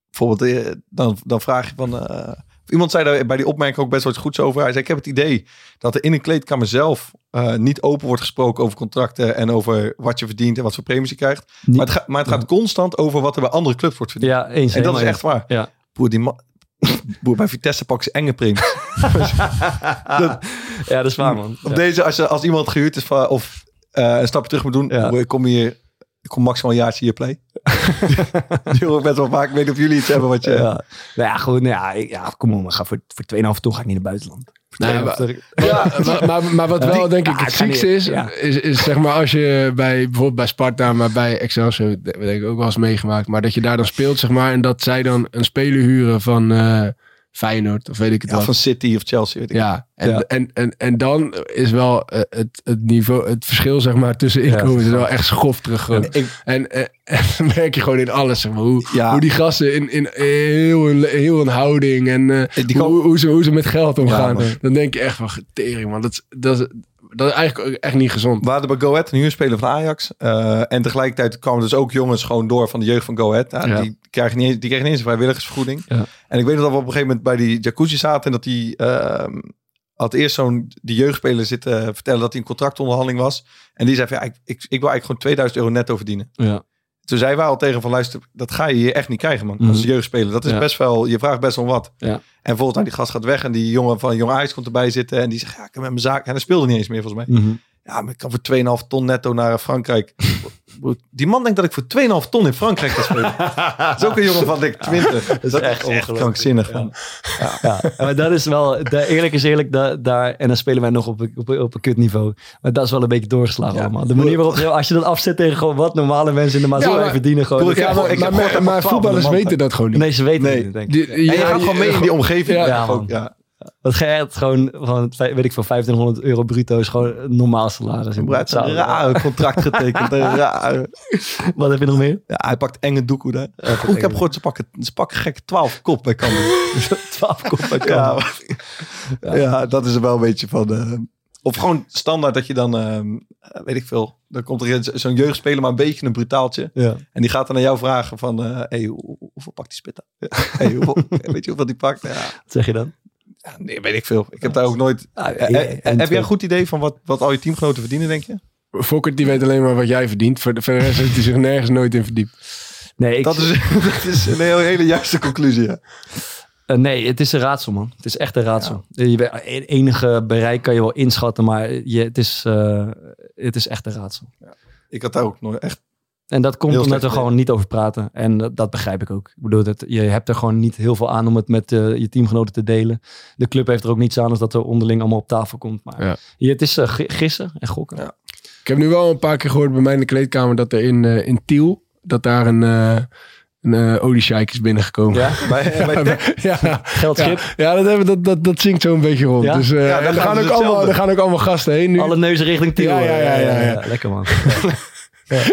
Speaker 1: Bijvoorbeeld, eh, dan, dan vraag je van... eh, iemand zei daar bij die opmerking ook best wel iets goeds over. Hij zei, ik heb het idee dat er in een kleedkamer zelf... eh, niet open wordt gesproken over contracten... en over wat je verdient en wat voor premies je krijgt.
Speaker 3: Niet-
Speaker 1: Maar het, ga- maar het gaat constant over wat er bij andere clubs wordt verdiend.
Speaker 3: ja, eens.
Speaker 1: En dat
Speaker 3: helemaal
Speaker 1: is echt waar.
Speaker 3: Ja.
Speaker 1: Broer, die man... Broer, bij Vitesse pakken ze enge prims.
Speaker 3: eens. Ja, dat is waar, man.
Speaker 1: Op
Speaker 3: Ja.
Speaker 1: deze, als, je- als iemand gehuurd is van, of eh, een stapje terug moet doen,
Speaker 3: Ja.
Speaker 1: broer, ik kom hier, ik kom maximaal een jaartje hier play. die hoor ik best wel vaak. Ik weet niet of jullie iets hebben wat je...
Speaker 3: Ja. Nou ja, goed. Nou ja, ik- ja, kom op. we gaan voor, voor 2,5 ton ga ik niet naar het buitenland.
Speaker 4: Nee, maar-
Speaker 3: Voor 2,5 ton-
Speaker 4: Ja, maar, maar, maar wat wel denk ik
Speaker 3: ja,
Speaker 4: het
Speaker 3: ik ga
Speaker 4: ziekste
Speaker 3: niet-
Speaker 4: is,
Speaker 3: ja.
Speaker 4: is, is zeg maar als je bij bijvoorbeeld bij Sparta, maar bij Excelsior dat heb ik ook wel eens meegemaakt, maar dat je daar dan speelt zeg maar en dat zij dan een speler huren van eh, Feyenoord of weet ik het
Speaker 1: Ja,
Speaker 4: wel.
Speaker 1: van City of Chelsea, weet ik.
Speaker 4: Ja, en,
Speaker 3: Ja.
Speaker 4: En, en, en dan is wel eh, het, het niveau, het verschil zeg maar tussen
Speaker 3: Ja.
Speaker 4: inkomen is wel echt schofterig groot.
Speaker 1: Ik-
Speaker 4: En, eh, en dan merk je gewoon in alles, zeg maar, hoe,
Speaker 1: Ja.
Speaker 4: hoe die gasten in, in heel, hun, heel hun houding en eh,
Speaker 1: Die kan-
Speaker 4: hoe, hoe, ze, hoe ze met geld omgaan.
Speaker 1: man.
Speaker 4: dan denk je echt van, tering man, dat, is- dat, is- dat is eigenlijk ook echt niet gezond.
Speaker 1: We hadden bij Go Ahead een huurspeler van Ajax. eh, en tegelijkertijd kwamen dus ook jongens gewoon door van de jeugd van Go Ahead. Nou,
Speaker 4: Ja.
Speaker 1: die, krijgen niet, eens- die kregen niet eens een vrijwilligersvergoeding.
Speaker 3: Ja.
Speaker 1: En ik weet nog dat we op een gegeven moment bij die jacuzzi zaten. En dat die ehm, had eerst zo'n die jeugdspeler zitten vertellen dat hij een contractonderhandeling was. En die zei van, ja, ik, ik, ik wil eigenlijk gewoon 2000 euro netto verdienen.
Speaker 3: Ja.
Speaker 1: Toen zei wij al tegen van, luister, dat ga je hier echt niet krijgen man.
Speaker 3: Mhm.
Speaker 1: Als jeugdspeler. Dat is
Speaker 3: Ja.
Speaker 1: best wel, je vraagt best wel wat.
Speaker 3: Ja.
Speaker 1: En volgens mij die gast gaat weg en die jongen van Jong Ajax komt erbij zitten. En die zegt, ja, ik heb met mijn zaak. En hij speelde niet eens meer volgens mij.
Speaker 3: Mhm.
Speaker 1: Ja, maar ik kan voor 2,5 ton netto naar eh, Frankrijk. Broer, Die man denkt dat ik voor 2,5 ton in Frankrijk ga spelen. dat is ook een jongen van dik 20. dat is
Speaker 3: echt
Speaker 1: echt,
Speaker 3: ongelooflijk.
Speaker 1: krankzinnig. man.
Speaker 3: Ja, maar dat is wel, da- eerlijk is eerlijk, da- daar, en dan spelen wij nog op, een- op, een- op een kutniveau. Maar dat is wel een beetje doorgeslagen
Speaker 1: Ja.
Speaker 3: allemaal. De manier waarop, als je dat afzet tegen gewoon wat normale mensen in de maatschappij
Speaker 4: Ja, maar-
Speaker 3: verdienen, gewoon.
Speaker 1: Doe ik-
Speaker 4: Ja,
Speaker 1: heb-
Speaker 4: maar,
Speaker 1: ik heb
Speaker 4: maar,
Speaker 1: gehoord
Speaker 4: maar,
Speaker 1: dat maar
Speaker 4: voetballers
Speaker 1: 12
Speaker 4: weten dat gewoon niet.
Speaker 3: Nee, ze weten
Speaker 1: Nee.
Speaker 3: het niet, denk ik.
Speaker 4: Die- die-
Speaker 1: en je
Speaker 4: ja,
Speaker 1: gaat gewoon mee in die omgeving.
Speaker 4: Ja,
Speaker 1: Ja,
Speaker 3: man.
Speaker 1: ook, ja.
Speaker 3: Dat gaat gewoon van, vij- weet ik veel, 1500 euro bruto is gewoon een normaal salaris. in
Speaker 1: Hij heeft een
Speaker 3: Saudi-Arabië.
Speaker 1: rare contract getekend. een rare.
Speaker 3: Wat heb je nog meer?
Speaker 1: Ja, hij pakt enge doekoe daar. Goed, ik heb gehoord, ze pakken, ze pakken gekke 12 kop bij Cambuur.
Speaker 3: 12 kop bij
Speaker 1: ja,
Speaker 3: Cambuur.
Speaker 1: ja. dat is er wel een beetje van. eh, of gewoon standaard dat je dan, ehm, eh, weet ik veel, dan komt er eens zo'n jeugdspeler maar een beetje een brutaaltje.
Speaker 3: Ja.
Speaker 1: En die gaat dan aan jou vragen van, eh hey, hoe- hoe- hoeveel pakt die spit aan? Hey, hoeveel- weet je hoeveel die pakt? Ja,
Speaker 3: Wat zeg je dan?
Speaker 1: ja, nee, weet ik veel. Ik heb daar ook nooit...
Speaker 3: Ah,
Speaker 1: Eh,
Speaker 3: ja,
Speaker 1: eh,
Speaker 3: en
Speaker 1: heb jij
Speaker 3: twee-
Speaker 1: een goed idee van wat, wat al je teamgenoten verdienen, denk je?
Speaker 4: Fokkert die weet alleen maar wat jij verdient. Voor de, voor de rest heeft hij zich nergens nooit in verdiept.
Speaker 3: Nee, ik,
Speaker 1: Dat is, dat is een heel- hele juiste conclusie. ja.
Speaker 3: Eh, nee, het is een raadsel, man. Het is echt een raadsel. Eh, Je, weet- eh, enige bereik kan je wel inschatten, maar je, het, is, eh, het is echt een raadsel.
Speaker 1: Ik had daar ook nooit echt...
Speaker 3: En dat komt
Speaker 1: Heel
Speaker 3: omdat we
Speaker 1: slecht
Speaker 3: gewoon niet over praten. En dat, dat begrijp ik ook. Ik bedoel, dat, je hebt er gewoon niet heel veel aan om het met eh, je teamgenoten te delen. De club heeft er ook niets aan als dat er onderling allemaal op tafel komt. Maar
Speaker 4: Ja.
Speaker 3: je- het is eh, gi- gissen en gokken.
Speaker 1: Ja.
Speaker 4: Ik heb nu wel een paar keer gehoord bij mij in de kleedkamer dat er in, eh, in Tiel, dat daar een, eh een eh, oliesjeik is binnengekomen.
Speaker 3: Ja?
Speaker 1: Bij, bij
Speaker 4: ja.
Speaker 3: Geldschip.
Speaker 4: Ja, ja dat, hebben, dat, dat, dat zingt zo'n beetje rond.
Speaker 3: Ja?
Speaker 4: Dus, eh,
Speaker 1: daar
Speaker 4: en
Speaker 1: gaan
Speaker 4: er, gaan
Speaker 1: ze
Speaker 4: ook
Speaker 1: hetzelfde.
Speaker 4: allemaal, er gaan ook allemaal gasten heen nu.
Speaker 3: eh, Alle neuzen richting Tiel.
Speaker 4: Ja, ja, ja, ja, ja.
Speaker 3: Lekker man.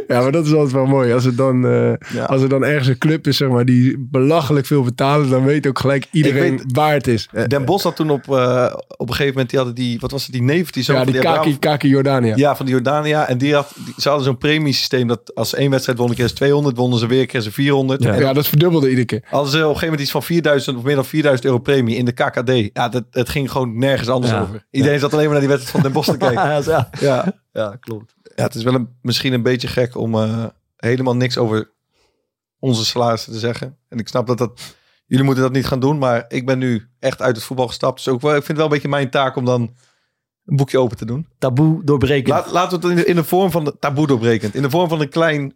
Speaker 4: Ja, maar dat is altijd wel mooi. Als er dan, eh,
Speaker 1: Ja.
Speaker 4: als er dan ergens een club is zeg maar, die belachelijk veel betaalt, dan weet ook gelijk iedereen
Speaker 1: Ik
Speaker 4: waar het is. Eh,
Speaker 1: Den Bos had toen op, eh, op een gegeven moment, die hadden die, wat was het, die neef die zo
Speaker 4: ja,
Speaker 1: van
Speaker 4: die
Speaker 1: Abraham-
Speaker 4: Kaki, Kaki Jordania.
Speaker 1: Ja, van de Jordania. En die had, die, ze hadden zo'n premiesysteem dat als ze één wedstrijd wonnen, kregen ze 200, wonnen ze weer, kregen ze 400.
Speaker 3: Ja.
Speaker 1: En
Speaker 4: Ja, dat verdubbelde iedere keer.
Speaker 1: hadden ze op een gegeven moment iets van 4000 of meer dan 4000 euro premie in de KKD. Ja, dat, het ging gewoon nergens anders
Speaker 3: Ja.
Speaker 1: over. Iedereen zat alleen maar naar die wedstrijd van Den Bosch te kijken.
Speaker 3: Ja, ja.
Speaker 1: Ja.
Speaker 3: ja, klopt.
Speaker 1: ja, het is wel een, misschien een beetje gek om eh, helemaal niks over onze salarissen te zeggen. En ik snap dat dat... Jullie moeten dat niet gaan doen, maar ik ben nu echt uit het voetbal gestapt. Dus ook wel, ik vind het wel een beetje mijn taak om dan een boekje open te doen.
Speaker 3: Taboe doorbreken.
Speaker 1: Laat, laten we het in de, in de vorm van de taboe doorbrekend. In de vorm van een klein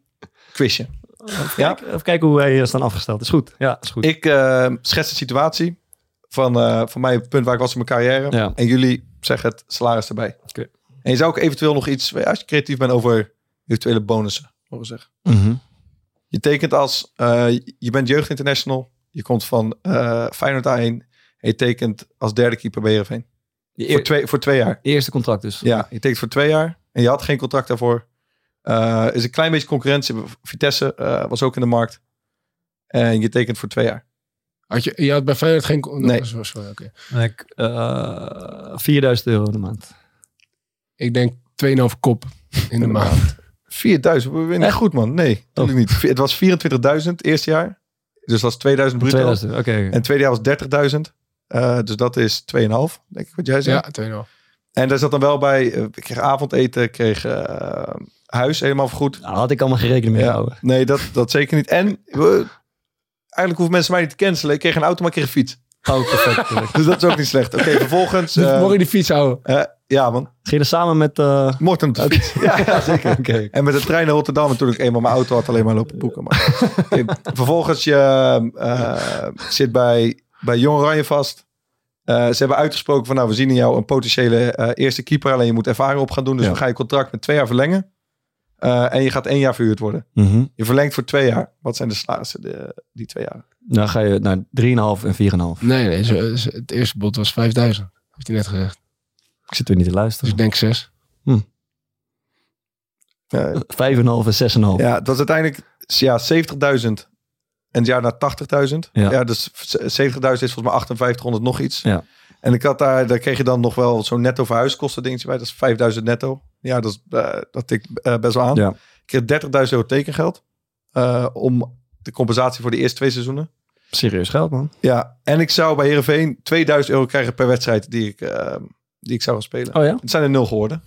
Speaker 1: quizje. Ja.
Speaker 3: Kijk, even kijken hoe wij eh, staan afgesteld. Is goed. Ja, is goed.
Speaker 1: Ik eh, schets de situatie van, eh, van mij, het punt waar ik was in mijn carrière.
Speaker 3: Ja.
Speaker 1: En jullie zeggen het salaris erbij.
Speaker 3: Oké.
Speaker 1: En je zou ook eventueel nog iets, ja, als je creatief bent, over eventuele bonussen mogen zeggen.
Speaker 3: Mhm.
Speaker 1: Je tekent als, eh, je bent jeugd international. Je komt van eh Feyenoord A1. En je tekent als derde keeper bij Heerenveen.
Speaker 3: Je
Speaker 1: Voor
Speaker 3: eer-
Speaker 1: twee, voor twee jaar.
Speaker 3: eerste contract dus.
Speaker 1: Ja, je tekent voor twee jaar en je had geen contract daarvoor. Eh, is een klein beetje concurrentie. Vitesse eh, was ook in de markt. En je tekent voor twee jaar.
Speaker 4: Had je, je had bij Feyenoord geen... con-
Speaker 1: Nee.
Speaker 4: Sorry, sorry, oké.
Speaker 3: En ik, eh, 4000 euro in de maand.
Speaker 4: Ik denk 2,5 kop in de maand.
Speaker 1: 4000, we winnen
Speaker 3: Echt?
Speaker 1: goed man. Nee, natuurlijk niet. Het was 24.000 het eerste jaar. Dus dat is 2000 bruto.
Speaker 3: 2000, oké.
Speaker 1: En het tweede jaar was 30.000. Eh, dus dat is 2,5, denk ik wat jij zei.
Speaker 4: Ja, 2,5.
Speaker 1: En daar zat dan wel bij, eh, ik kreeg avondeten, ik kreeg eh, huis helemaal vergoed.
Speaker 3: Nou, had ik allemaal geen rekening mee gehouden.
Speaker 1: Nee, dat, dat zeker niet. En eh, eigenlijk hoeven mensen mij niet te cancelen. Ik kreeg een auto, maar ik kreeg een fiets.
Speaker 3: Oh, perfect. Ging
Speaker 1: Dus dat is ook niet slecht. Oké, vervolgens.
Speaker 4: Dus
Speaker 1: eh,
Speaker 4: mocht je die fiets houden?
Speaker 1: eh, ja, man.
Speaker 3: je er samen met... eh,
Speaker 1: Mortem te fiets. Ja, ja, zeker.
Speaker 3: Oké.
Speaker 1: En met de trein naar Rotterdam. En toen ik eenmaal mijn auto had, alleen maar lopen boeken. Maar. Oké, vervolgens je, eh, zit bij, bij Jong Oranje vast. Eh, ze hebben uitgesproken van, nou, we zien in jou een potentiële eh, eerste keeper. Alleen je moet ervaring op gaan doen. Dus
Speaker 3: Ja.
Speaker 1: we gaan je contract met twee jaar verlengen. Eh, en je gaat één jaar verhuurd worden.
Speaker 3: Mhm.
Speaker 1: Je verlengt voor twee jaar. Wat zijn de salarissen de, die twee jaar?
Speaker 3: Dan ga je naar 3,5 en 4,5.
Speaker 4: Nee, nee. zo- eh, zo- het eerste bod was 5000. Heeft hij net gezegd.
Speaker 3: Ik zit weer niet te
Speaker 4: Dus
Speaker 3: luisteren.
Speaker 4: ik denk 6.
Speaker 1: Eh,
Speaker 3: 5,5 en 6,5.
Speaker 1: Ja, het was uiteindelijk ja, 70.000 en het jaar na 80.000.
Speaker 3: Ja.
Speaker 1: Ja. dus 70.000 is volgens mij 5800 nog iets.
Speaker 3: Ja.
Speaker 1: En ik had daar, daar kreeg je dan nog wel zo'n netto verhuiskosten dingetje bij. Dat is 5000 netto. Ja, dat, is, eh, dat ik best wel aan.
Speaker 3: Ja.
Speaker 1: Ik kreeg 30.000 euro tekengeld eh, om de compensatie voor de eerste twee seizoenen.
Speaker 3: Serieus geld, man.
Speaker 1: Ja, en ik zou bij Heerenveen 2000 euro krijgen per wedstrijd die ik, eh, die ik zou gaan spelen.
Speaker 3: Oh ja?
Speaker 1: Het zijn er nul geworden.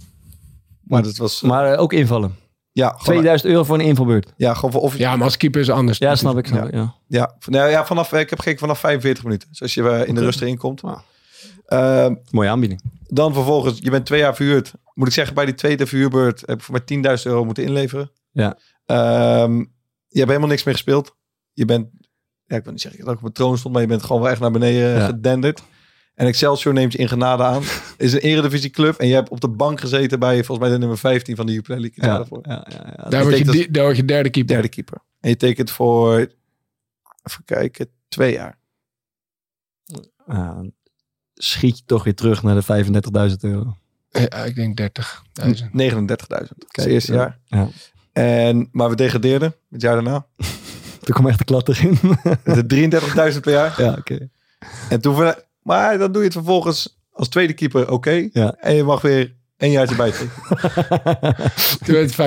Speaker 1: Maar dat was...
Speaker 3: Maar eh, ook invallen.
Speaker 1: ja, gewoon,
Speaker 3: 2000 euro voor een invalbeurt.
Speaker 1: ja, gewoon voor, of,
Speaker 4: Ja, maar als keeper is het anders.
Speaker 3: Ja, snap ik. Snap ik, ja.
Speaker 1: Ja, v- nou ja vanaf, ik heb gekeken vanaf 45 minuten. Dus als je eh, in de rust erin komt.
Speaker 3: Wauw.
Speaker 1: Ehm,
Speaker 3: Mooie aanbieding.
Speaker 1: dan vervolgens, je bent twee jaar verhuurd. Moet ik zeggen, bij die tweede verhuurbeurt heb ik voor mij 10.000 euro moeten inleveren.
Speaker 3: Ja.
Speaker 1: Ehm, je hebt helemaal niks meer gespeeld. Je bent, ja, ik wil niet zeggen dat ik op mijn troon stond, maar je bent gewoon wel echt naar beneden eh,
Speaker 3: Ja.
Speaker 1: gedenderd. En Excelsior neemt je in genade aan. Is een eredivisieclub en je hebt op de bank gezeten bij volgens mij de nummer 15 van de Jupiler League.
Speaker 3: Ja,
Speaker 1: Daarvoor.
Speaker 3: ja, ja, ja.
Speaker 4: Daar
Speaker 1: Ik
Speaker 4: word, je,
Speaker 1: denk dat-
Speaker 4: di- daar word je derde keeper.
Speaker 1: Derde keeper. En je tekent voor, even kijken, twee jaar.
Speaker 3: Ah, schiet je toch weer terug naar de 35.000 euro.
Speaker 4: Ja, Eh, ik denk 30.000.
Speaker 1: 39.000. het eerste
Speaker 3: ja.
Speaker 1: jaar.
Speaker 3: Ja.
Speaker 1: En, maar we degradeerden het jaar daarna.
Speaker 3: Toen kwam echt de klat erin.
Speaker 1: Met de 33.000 per jaar.
Speaker 3: ja, oké.
Speaker 1: En toen, ver- maar dan doe je het vervolgens als tweede keeper oké.
Speaker 3: Ja.
Speaker 1: En je mag weer een jaartje bijtekenen.
Speaker 4: Toen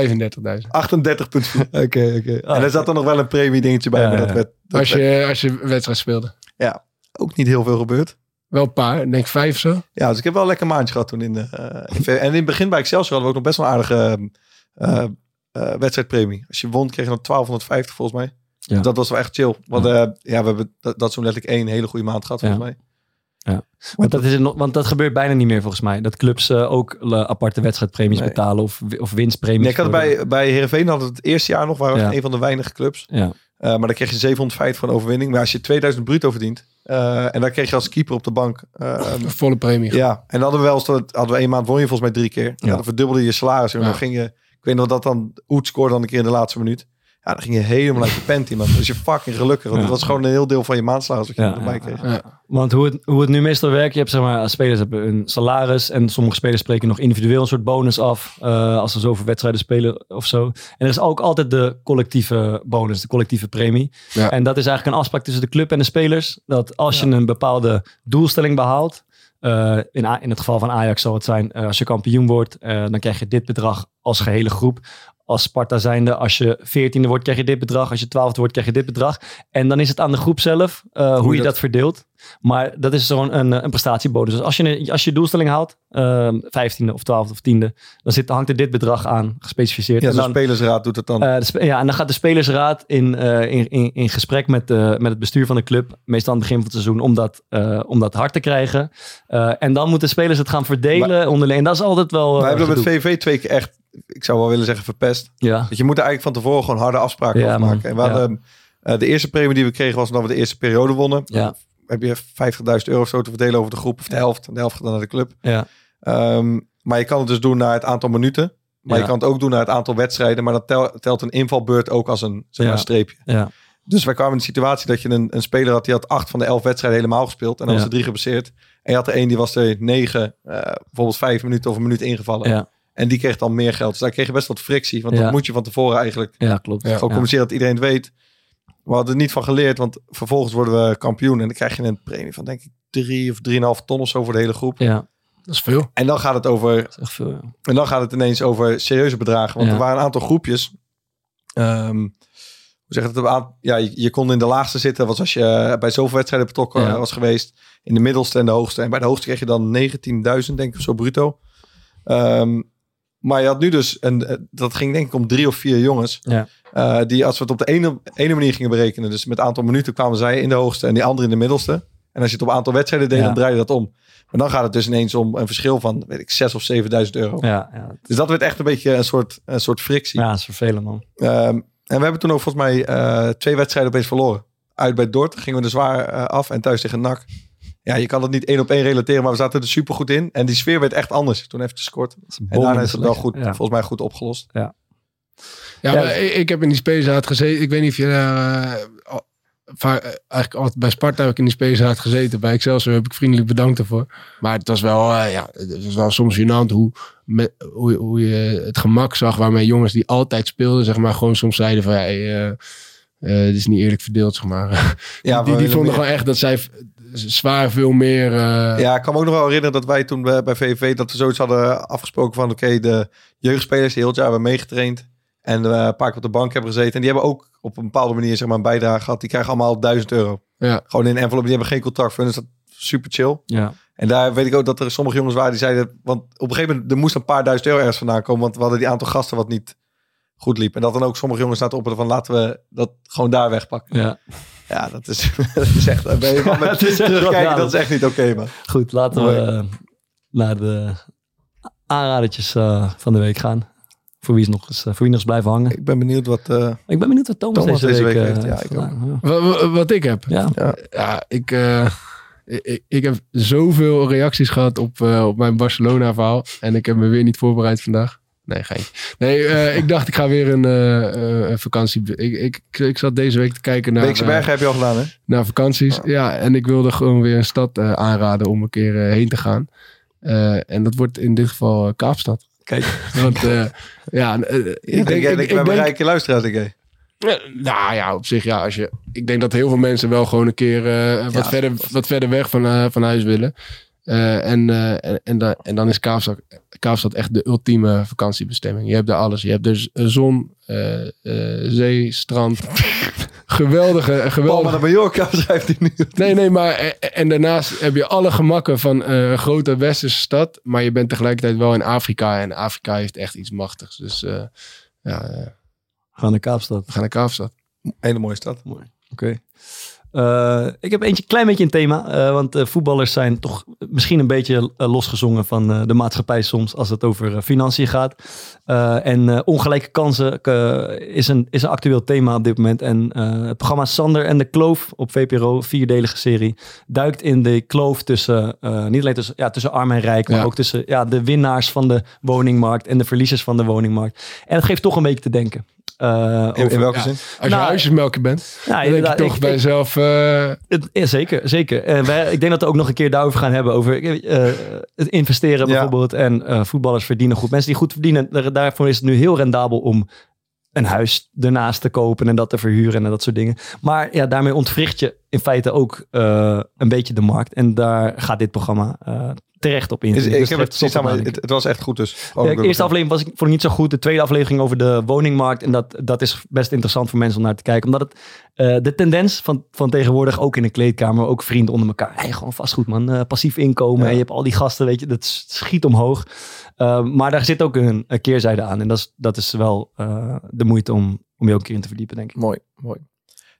Speaker 4: werd het 35.000.
Speaker 1: 38.4.
Speaker 3: Oké, Ah, oké.
Speaker 1: En daar zat dan nog wel een premie dingetje bij.
Speaker 3: Ja,
Speaker 1: maar dat
Speaker 3: ja.
Speaker 1: werd dat
Speaker 4: Als je, als je wedstrijd speelde.
Speaker 1: werd ook niet heel veel gebeurd.
Speaker 4: Wel een paar. Ik denk vijf zo.
Speaker 1: Ja, dus ik heb wel een lekker maandje gehad toen. In, eh, in ver- en in het begin bij Excelsior hadden we ook nog best wel een aardige eh, eh, wedstrijdpremie. Als je won kreeg je dan 1250 volgens mij.
Speaker 3: Ja.
Speaker 1: Dus dat was wel echt chill. Want eh, ja, we hebben dat, dat zo'n letterlijk één hele goede maand gehad volgens
Speaker 3: Ja.
Speaker 1: mij.
Speaker 3: Want dat, is het nog- want dat gebeurt bijna niet meer volgens mij. Dat clubs eh, ook eh, aparte wedstrijdpremies
Speaker 1: Nee.
Speaker 3: betalen of, wi- of winstpremies.
Speaker 1: Nee, ik had
Speaker 3: voor de-
Speaker 1: bij, bij Heerenveen had het het eerste jaar nog, waren we
Speaker 3: Ja.
Speaker 1: echt een van de weinige clubs.
Speaker 3: Ja.
Speaker 1: Eh, maar dan kreeg je 750 van overwinning. Maar als je 2000 bruto verdient, eh, en dan kreeg je als keeper op de bank. eh,
Speaker 4: Een volle premie.
Speaker 1: ja, en dan hadden we wel eens, dat- hadden we één maand won je volgens mij drie keer.
Speaker 3: Ja.
Speaker 1: Dan verdubbelde je salaris en
Speaker 4: Ja.
Speaker 1: dan ging je, ik weet nog dat dan Oet scoorde dan een keer in de laatste minuut. Ja, dan ging je helemaal uit je pent in. Dan was je fucking gelukkig. Want
Speaker 3: Ja.
Speaker 1: dat was gewoon een heel deel van je maandslaas wat je
Speaker 3: Ja,
Speaker 1: erbij
Speaker 3: ja,
Speaker 1: kreeg.
Speaker 3: Want hoe het, hoe het nu meestal werkt, je hebt zeg maar, spelers hebben een salaris en sommige spelers spreken nog individueel een soort bonus af eh, als ze zoveel wedstrijden spelen of zo. En er is ook altijd de collectieve bonus, de collectieve premie.
Speaker 4: Ja.
Speaker 3: En dat is eigenlijk een afspraak tussen de club en de spelers, dat als je een bepaalde doelstelling behaalt, eh, in, A- in het geval van Ajax zal het zijn, eh, als je kampioen wordt, eh, dan krijg je dit bedrag als gehele groep. Als Sparta zijnde, als je veertiende wordt, krijg je dit bedrag. Als je twaalfde wordt, krijg je dit bedrag. En dan is het aan de groep zelf eh, hoe, je
Speaker 1: dat-
Speaker 3: dat, verdeelt. Maar dat is zo'n een, eh, een prestatiebonus. Dus als je, een- als je doelstelling haalt, ehm, vijftiende of twaalfde of tiende, dan zit, hangt er dit bedrag aan, gespecificeerd.
Speaker 1: Ja, dus
Speaker 3: en
Speaker 1: de
Speaker 3: dan,
Speaker 1: spelersraad doet het dan.
Speaker 3: eh, de spe- ja, en dan gaat de spelersraad in, eh, in, in, in gesprek met, eh, met het bestuur van de club, meestal aan het begin van het seizoen, om dat, eh, om dat hard te krijgen. Eh, en dan moeten spelers het gaan verdelen onderling. En dat is altijd wel. eh,
Speaker 1: Wij hebben dat met
Speaker 3: gedoe.
Speaker 1: VV twee keer echt, ik zou wel willen zeggen, verpest.
Speaker 3: Ja,
Speaker 1: Dat je moet er eigenlijk van tevoren gewoon harde afspraken
Speaker 3: Ja,
Speaker 1: over
Speaker 3: man.
Speaker 1: maken. En we hadden, eh, de eerste premie die we kregen was omdat we de eerste periode wonnen.
Speaker 3: ja,
Speaker 1: Heb je 50.000 euro of zo te verdelen over de groep of de helft. En de helft gaat dan naar de club.
Speaker 3: ja.
Speaker 1: Ehm, maar je kan het dus doen naar het aantal minuten. Maar je
Speaker 3: Ja.
Speaker 1: kan het ook doen naar het aantal wedstrijden. Maar dat tel- telt een invalbeurt ook als een, zeg maar,
Speaker 3: Ja.
Speaker 1: streepje.
Speaker 3: Ja.
Speaker 1: Dus wij kwamen in de situatie dat je een, een speler had... die had acht van de elf wedstrijden helemaal gespeeld. En dan
Speaker 3: Ja.
Speaker 1: was er drie geblesseerd. En je had er één die was er negen... eh, bijvoorbeeld vijf minuten of een minuut ingevallen.
Speaker 3: Ja.
Speaker 1: En die kreeg dan meer geld. Dus daar kreeg je best wat frictie. Want
Speaker 3: Ja.
Speaker 1: dat moet je van tevoren eigenlijk
Speaker 3: ja, klopt.
Speaker 4: Ja.
Speaker 1: gewoon communiceren... dat iedereen het weet. We hadden er niet van geleerd. Want vervolgens worden we kampioen. En dan krijg je een premie van denk ik drie of drieënhalf ton of zo... voor de hele groep.
Speaker 3: Ja,
Speaker 4: Dat is veel.
Speaker 1: En dan gaat het over
Speaker 3: dat is echt veel. ja.
Speaker 1: en dan gaat het ineens over serieuze bedragen. Want
Speaker 3: Ja.
Speaker 1: er waren een aantal groepjes. Ehm, hoe zeg je dat? Een aantal- Ja, je, je kon in de laagste zitten. was als je eh, bij zoveel wedstrijden betrokken
Speaker 3: Ja.
Speaker 1: eh, was geweest. In de middelste en de hoogste. En bij de hoogste kreeg je dan 19.000, denk ik, of zo bruto. Ehm, maar je had nu dus, een, eh, dat ging denk ik om drie of vier jongens.
Speaker 3: Ja.
Speaker 1: eh, die als we het op de ene, ene manier gingen berekenen. Dus met aantal minuten kwamen zij in de hoogste en die andere in de middelste. En als je het op aantal wedstrijden deed,
Speaker 3: Ja.
Speaker 1: dan draai je dat om. Maar dan gaat het dus ineens om een verschil van, weet ik, 6 of 7000 euro.
Speaker 3: Ja, ja.
Speaker 1: Dus dat werd echt een beetje een soort, een soort frictie.
Speaker 3: ja, dat is vervelend man.
Speaker 1: Ehm, en we hebben toen ook volgens mij eh, twee wedstrijden opeens verloren. Uit bij Dort gingen we er zwaar eh, af en thuis tegen NAC. Ja, je kan dat niet één op één relateren, maar we zaten er super goed in. En die sfeer werd echt anders toen even gescoord.
Speaker 3: Dat is een
Speaker 1: En daarna is het wel
Speaker 3: bom.
Speaker 1: goed,
Speaker 3: Ja.
Speaker 1: volgens mij goed opgelost.
Speaker 4: Ja,
Speaker 3: Ja.
Speaker 4: maar ik, ik heb in die spelersraad gezeten. Ik weet niet of je daar... eh, al- va- eh, eigenlijk altijd bij Sparta heb ik in die spelersraad gezeten. Bij Excelsior heb ik vriendelijk bedankt ervoor. Maar het was wel, eh, ja, het was wel soms gênant hoe, me- hoe, je- hoe je het gemak zag waarmee jongens die altijd speelden, zeg maar, gewoon soms zeiden van, ja, hey, eh, eh, dit is niet eerlijk verdeeld, zeg maar.
Speaker 1: Ja,
Speaker 4: die
Speaker 1: we-
Speaker 4: die vonden gewoon echt dat zij v- zwaar veel meer... eh,
Speaker 1: Ja, ik kan me ook nog wel herinneren dat wij toen bij, bij VVV... dat we zoiets hadden afgesproken van... oké, de jeugdspelers die heel het jaar hebben meegetraind... en eh, een paar keer op de bank hebben gezeten... en die hebben ook op een bepaalde manier zeg maar, een bijdrage gehad. Die krijgen allemaal 1000 euro.
Speaker 4: Ja.
Speaker 1: Gewoon in een envelop, die hebben geen contact voor hun. Dus dat is super chill.
Speaker 3: Ja.
Speaker 1: En daar weet ik ook dat er sommige jongens waren die zeiden... want op een gegeven moment er moest een paar duizend euro ergens vandaan komen... want we hadden die aantal gasten wat niet goed liep. En dat dan ook sommige jongens zaten op van... laten we dat gewoon daar wegpakken.
Speaker 3: Ja,
Speaker 1: Ja, dat is, dat is echt... daar Ben je wel met
Speaker 3: Het is echt
Speaker 1: terugkijken,
Speaker 3: schandalig.
Speaker 1: dat is echt niet oké, man.
Speaker 3: goed. Laten we eh, naar de aanradertjes eh, van de week gaan. Voor wie, is nog eens, eh, voor wie nog eens blijven hangen.
Speaker 1: Ik ben benieuwd wat... eh,
Speaker 3: Ik ben benieuwd wat Thomas,
Speaker 1: Thomas
Speaker 3: deze,
Speaker 1: deze
Speaker 3: week,
Speaker 1: week
Speaker 3: eh,
Speaker 1: heeft. Ja,
Speaker 3: heeft
Speaker 1: ik
Speaker 3: gedaan.
Speaker 4: Wa- wa- Wat ik heb.
Speaker 3: Ja.
Speaker 4: Ja, ik, eh, ik, ik heb zoveel reacties gehad op, eh, op mijn Barcelona-verhaal. En ik heb me weer niet voorbereid vandaag. Nee, geen. Nee, eh, ik dacht ik ga weer een eh, eh, een vakantie... Ik, ik, ik, ik zat deze week te kijken naar...
Speaker 1: Beekse
Speaker 4: eh,
Speaker 1: Bergen heb je al gedaan, hè?
Speaker 4: naar vakanties. Ja, en ik wilde gewoon weer een stad eh, aanraden om een keer eh, heen te gaan. Eh, en dat wordt in dit geval eh, Kaapstad.
Speaker 1: Kijk.
Speaker 4: Want eh, ja, eh,
Speaker 1: Ik denk, ik,
Speaker 4: ik
Speaker 1: ben een
Speaker 4: denk-
Speaker 1: rijke luisteraar, denk ik.
Speaker 4: ja, Nou ja, op zich ja. Als je, ik denk dat heel veel mensen wel gewoon een keer eh, wat,
Speaker 1: Ja,
Speaker 4: verder, wat verder weg van, eh, van huis willen. Eh, en, eh, en, en, da- en dan is Kaapstad, Kaapstad echt de ultieme vakantiebestemming. Je hebt daar alles. Je hebt dus eh, zon, eh, eh, zee, strand. geweldige,
Speaker 1: Palma
Speaker 4: geweldige.
Speaker 1: de Mallorca schrijft hij nu.
Speaker 4: Nee, nee, maar eh, eh, en daarnaast heb je alle gemakken van eh, een grote westerse stad. Maar je bent tegelijkertijd wel in Afrika. En Afrika heeft echt iets machtigs. Dus eh, ja, eh,
Speaker 3: We gaan naar Kaapstad.
Speaker 4: we gaan naar Kaapstad.
Speaker 1: Hele mooie stad.
Speaker 3: Oké. Eh, ik heb eentje klein beetje een thema. eh, want eh, voetballers zijn toch misschien een beetje eh, losgezongen van eh, de maatschappij soms als het over eh, financiën gaat. Eh, en eh, ongelijke kansen eh, is, een, is een actueel thema op dit moment. En eh, het programma Sander en de Kloof op VPRO, vierdelige serie, duikt in de kloof tussen, eh, niet alleen tussen, ja, tussen arm en rijk, maar
Speaker 4: Ja.
Speaker 3: ook tussen ja, de winnaars van de woningmarkt en de verliezers van de woningmarkt. En het geeft toch een beetje te denken. Eh,
Speaker 1: In, in
Speaker 3: over-
Speaker 1: welke
Speaker 4: Ja.
Speaker 1: zin?
Speaker 4: Als je
Speaker 3: Nou,
Speaker 4: huisjesmelker bent,
Speaker 3: ja,
Speaker 4: dan denk je
Speaker 3: inderdaad,
Speaker 4: toch
Speaker 3: ik-
Speaker 4: bij
Speaker 3: ik-
Speaker 4: jezelf... eh,
Speaker 3: het, ja, zeker, zeker. En wij, ik denk dat we ook nog een keer daarover gaan hebben. Over eh, het investeren
Speaker 1: Ja.
Speaker 3: bijvoorbeeld. En eh, voetballers verdienen goed. Mensen die goed verdienen, daar- daarvoor is het nu heel rendabel om een huis ernaast te kopen en dat te verhuren en dat soort dingen. Maar ja, daarmee ontwricht je in feite ook eh, een beetje de markt. En daar gaat dit programma eh, terecht op in.
Speaker 1: Is, ik heb het
Speaker 3: het
Speaker 1: precies aan, maar het, het was echt goed dus.
Speaker 3: ja, de eerste aflevering was ik, vond ik niet zo goed. De tweede aflevering ging over de woningmarkt. En dat, dat is best interessant voor mensen om naar te kijken. Omdat het eh, de tendens van, van tegenwoordig, ook in de kleedkamer, ook vrienden onder elkaar. Hey, gewoon vastgoed man, Eh, passief inkomen. En je hebt al die gasten, weet je, dat s- schiet omhoog. Eh, maar daar zit ook een, een keerzijde aan. En dat is, dat is wel eh, de moeite om, om je ook een keer in te verdiepen, denk ik.
Speaker 1: Mooi, mooi.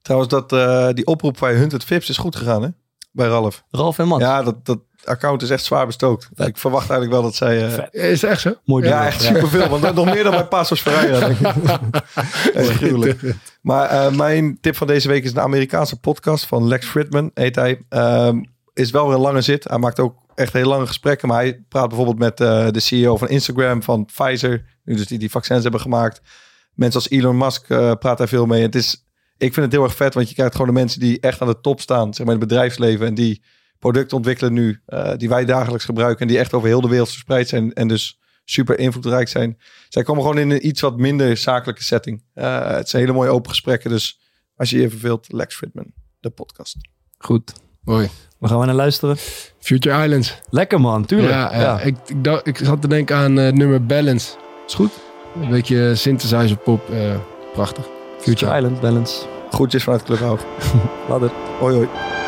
Speaker 1: Trouwens, dat, eh, die oproep bij Hunted Vips is goed gegaan hè? Bij Ralf.
Speaker 3: Ralf en Mats,
Speaker 1: Ja, dat, dat account is echt zwaar bestookt.
Speaker 3: Vet.
Speaker 1: Ik verwacht eigenlijk wel dat zij... eh,
Speaker 4: is het echt zo?
Speaker 3: mooi duo.
Speaker 1: ja, echt superveel. Want nog meer dan bij Passos Ferreira. denk ik. Echt gruwelijk. Maar eh, mijn tip van deze week is een Amerikaanse podcast van Lex Fridman, heet hij. Ehm, is wel weer een lange zit. Hij maakt ook echt heel lange gesprekken. Maar hij praat bijvoorbeeld met eh, de CEO van Instagram, van Pfizer. Nu dus die die vaccins hebben gemaakt. Mensen als Elon Musk eh, praat daar veel mee. Het is, ik vind het heel erg vet, want je krijgt gewoon de mensen die echt aan de top staan. Zeg maar in het bedrijfsleven. En die producten ontwikkelen nu, eh, die wij dagelijks gebruiken. En die echt over heel de wereld verspreid zijn. En dus super invloedrijk zijn. Zij komen gewoon in een iets wat minder zakelijke setting. Eh, het zijn hele mooie open gesprekken. Dus als je je verveelt, Lex Fridman, de podcast.
Speaker 3: Goed,
Speaker 4: Mooi.
Speaker 3: we gaan maar naar luisteren.
Speaker 4: Future Islands.
Speaker 3: Lekker man, tuurlijk.
Speaker 4: Ja, ja. Ik, ik, dacht- ik zat te denken aan eh, het nummer Balance.
Speaker 3: Is goed.
Speaker 4: Een beetje synthesizer pop. eh, prachtig.
Speaker 3: Future Island Balance.
Speaker 1: Groetjes vanuit Clubhouse.
Speaker 3: Ladder.
Speaker 1: Hoi hoi.
Speaker 4: Hoi.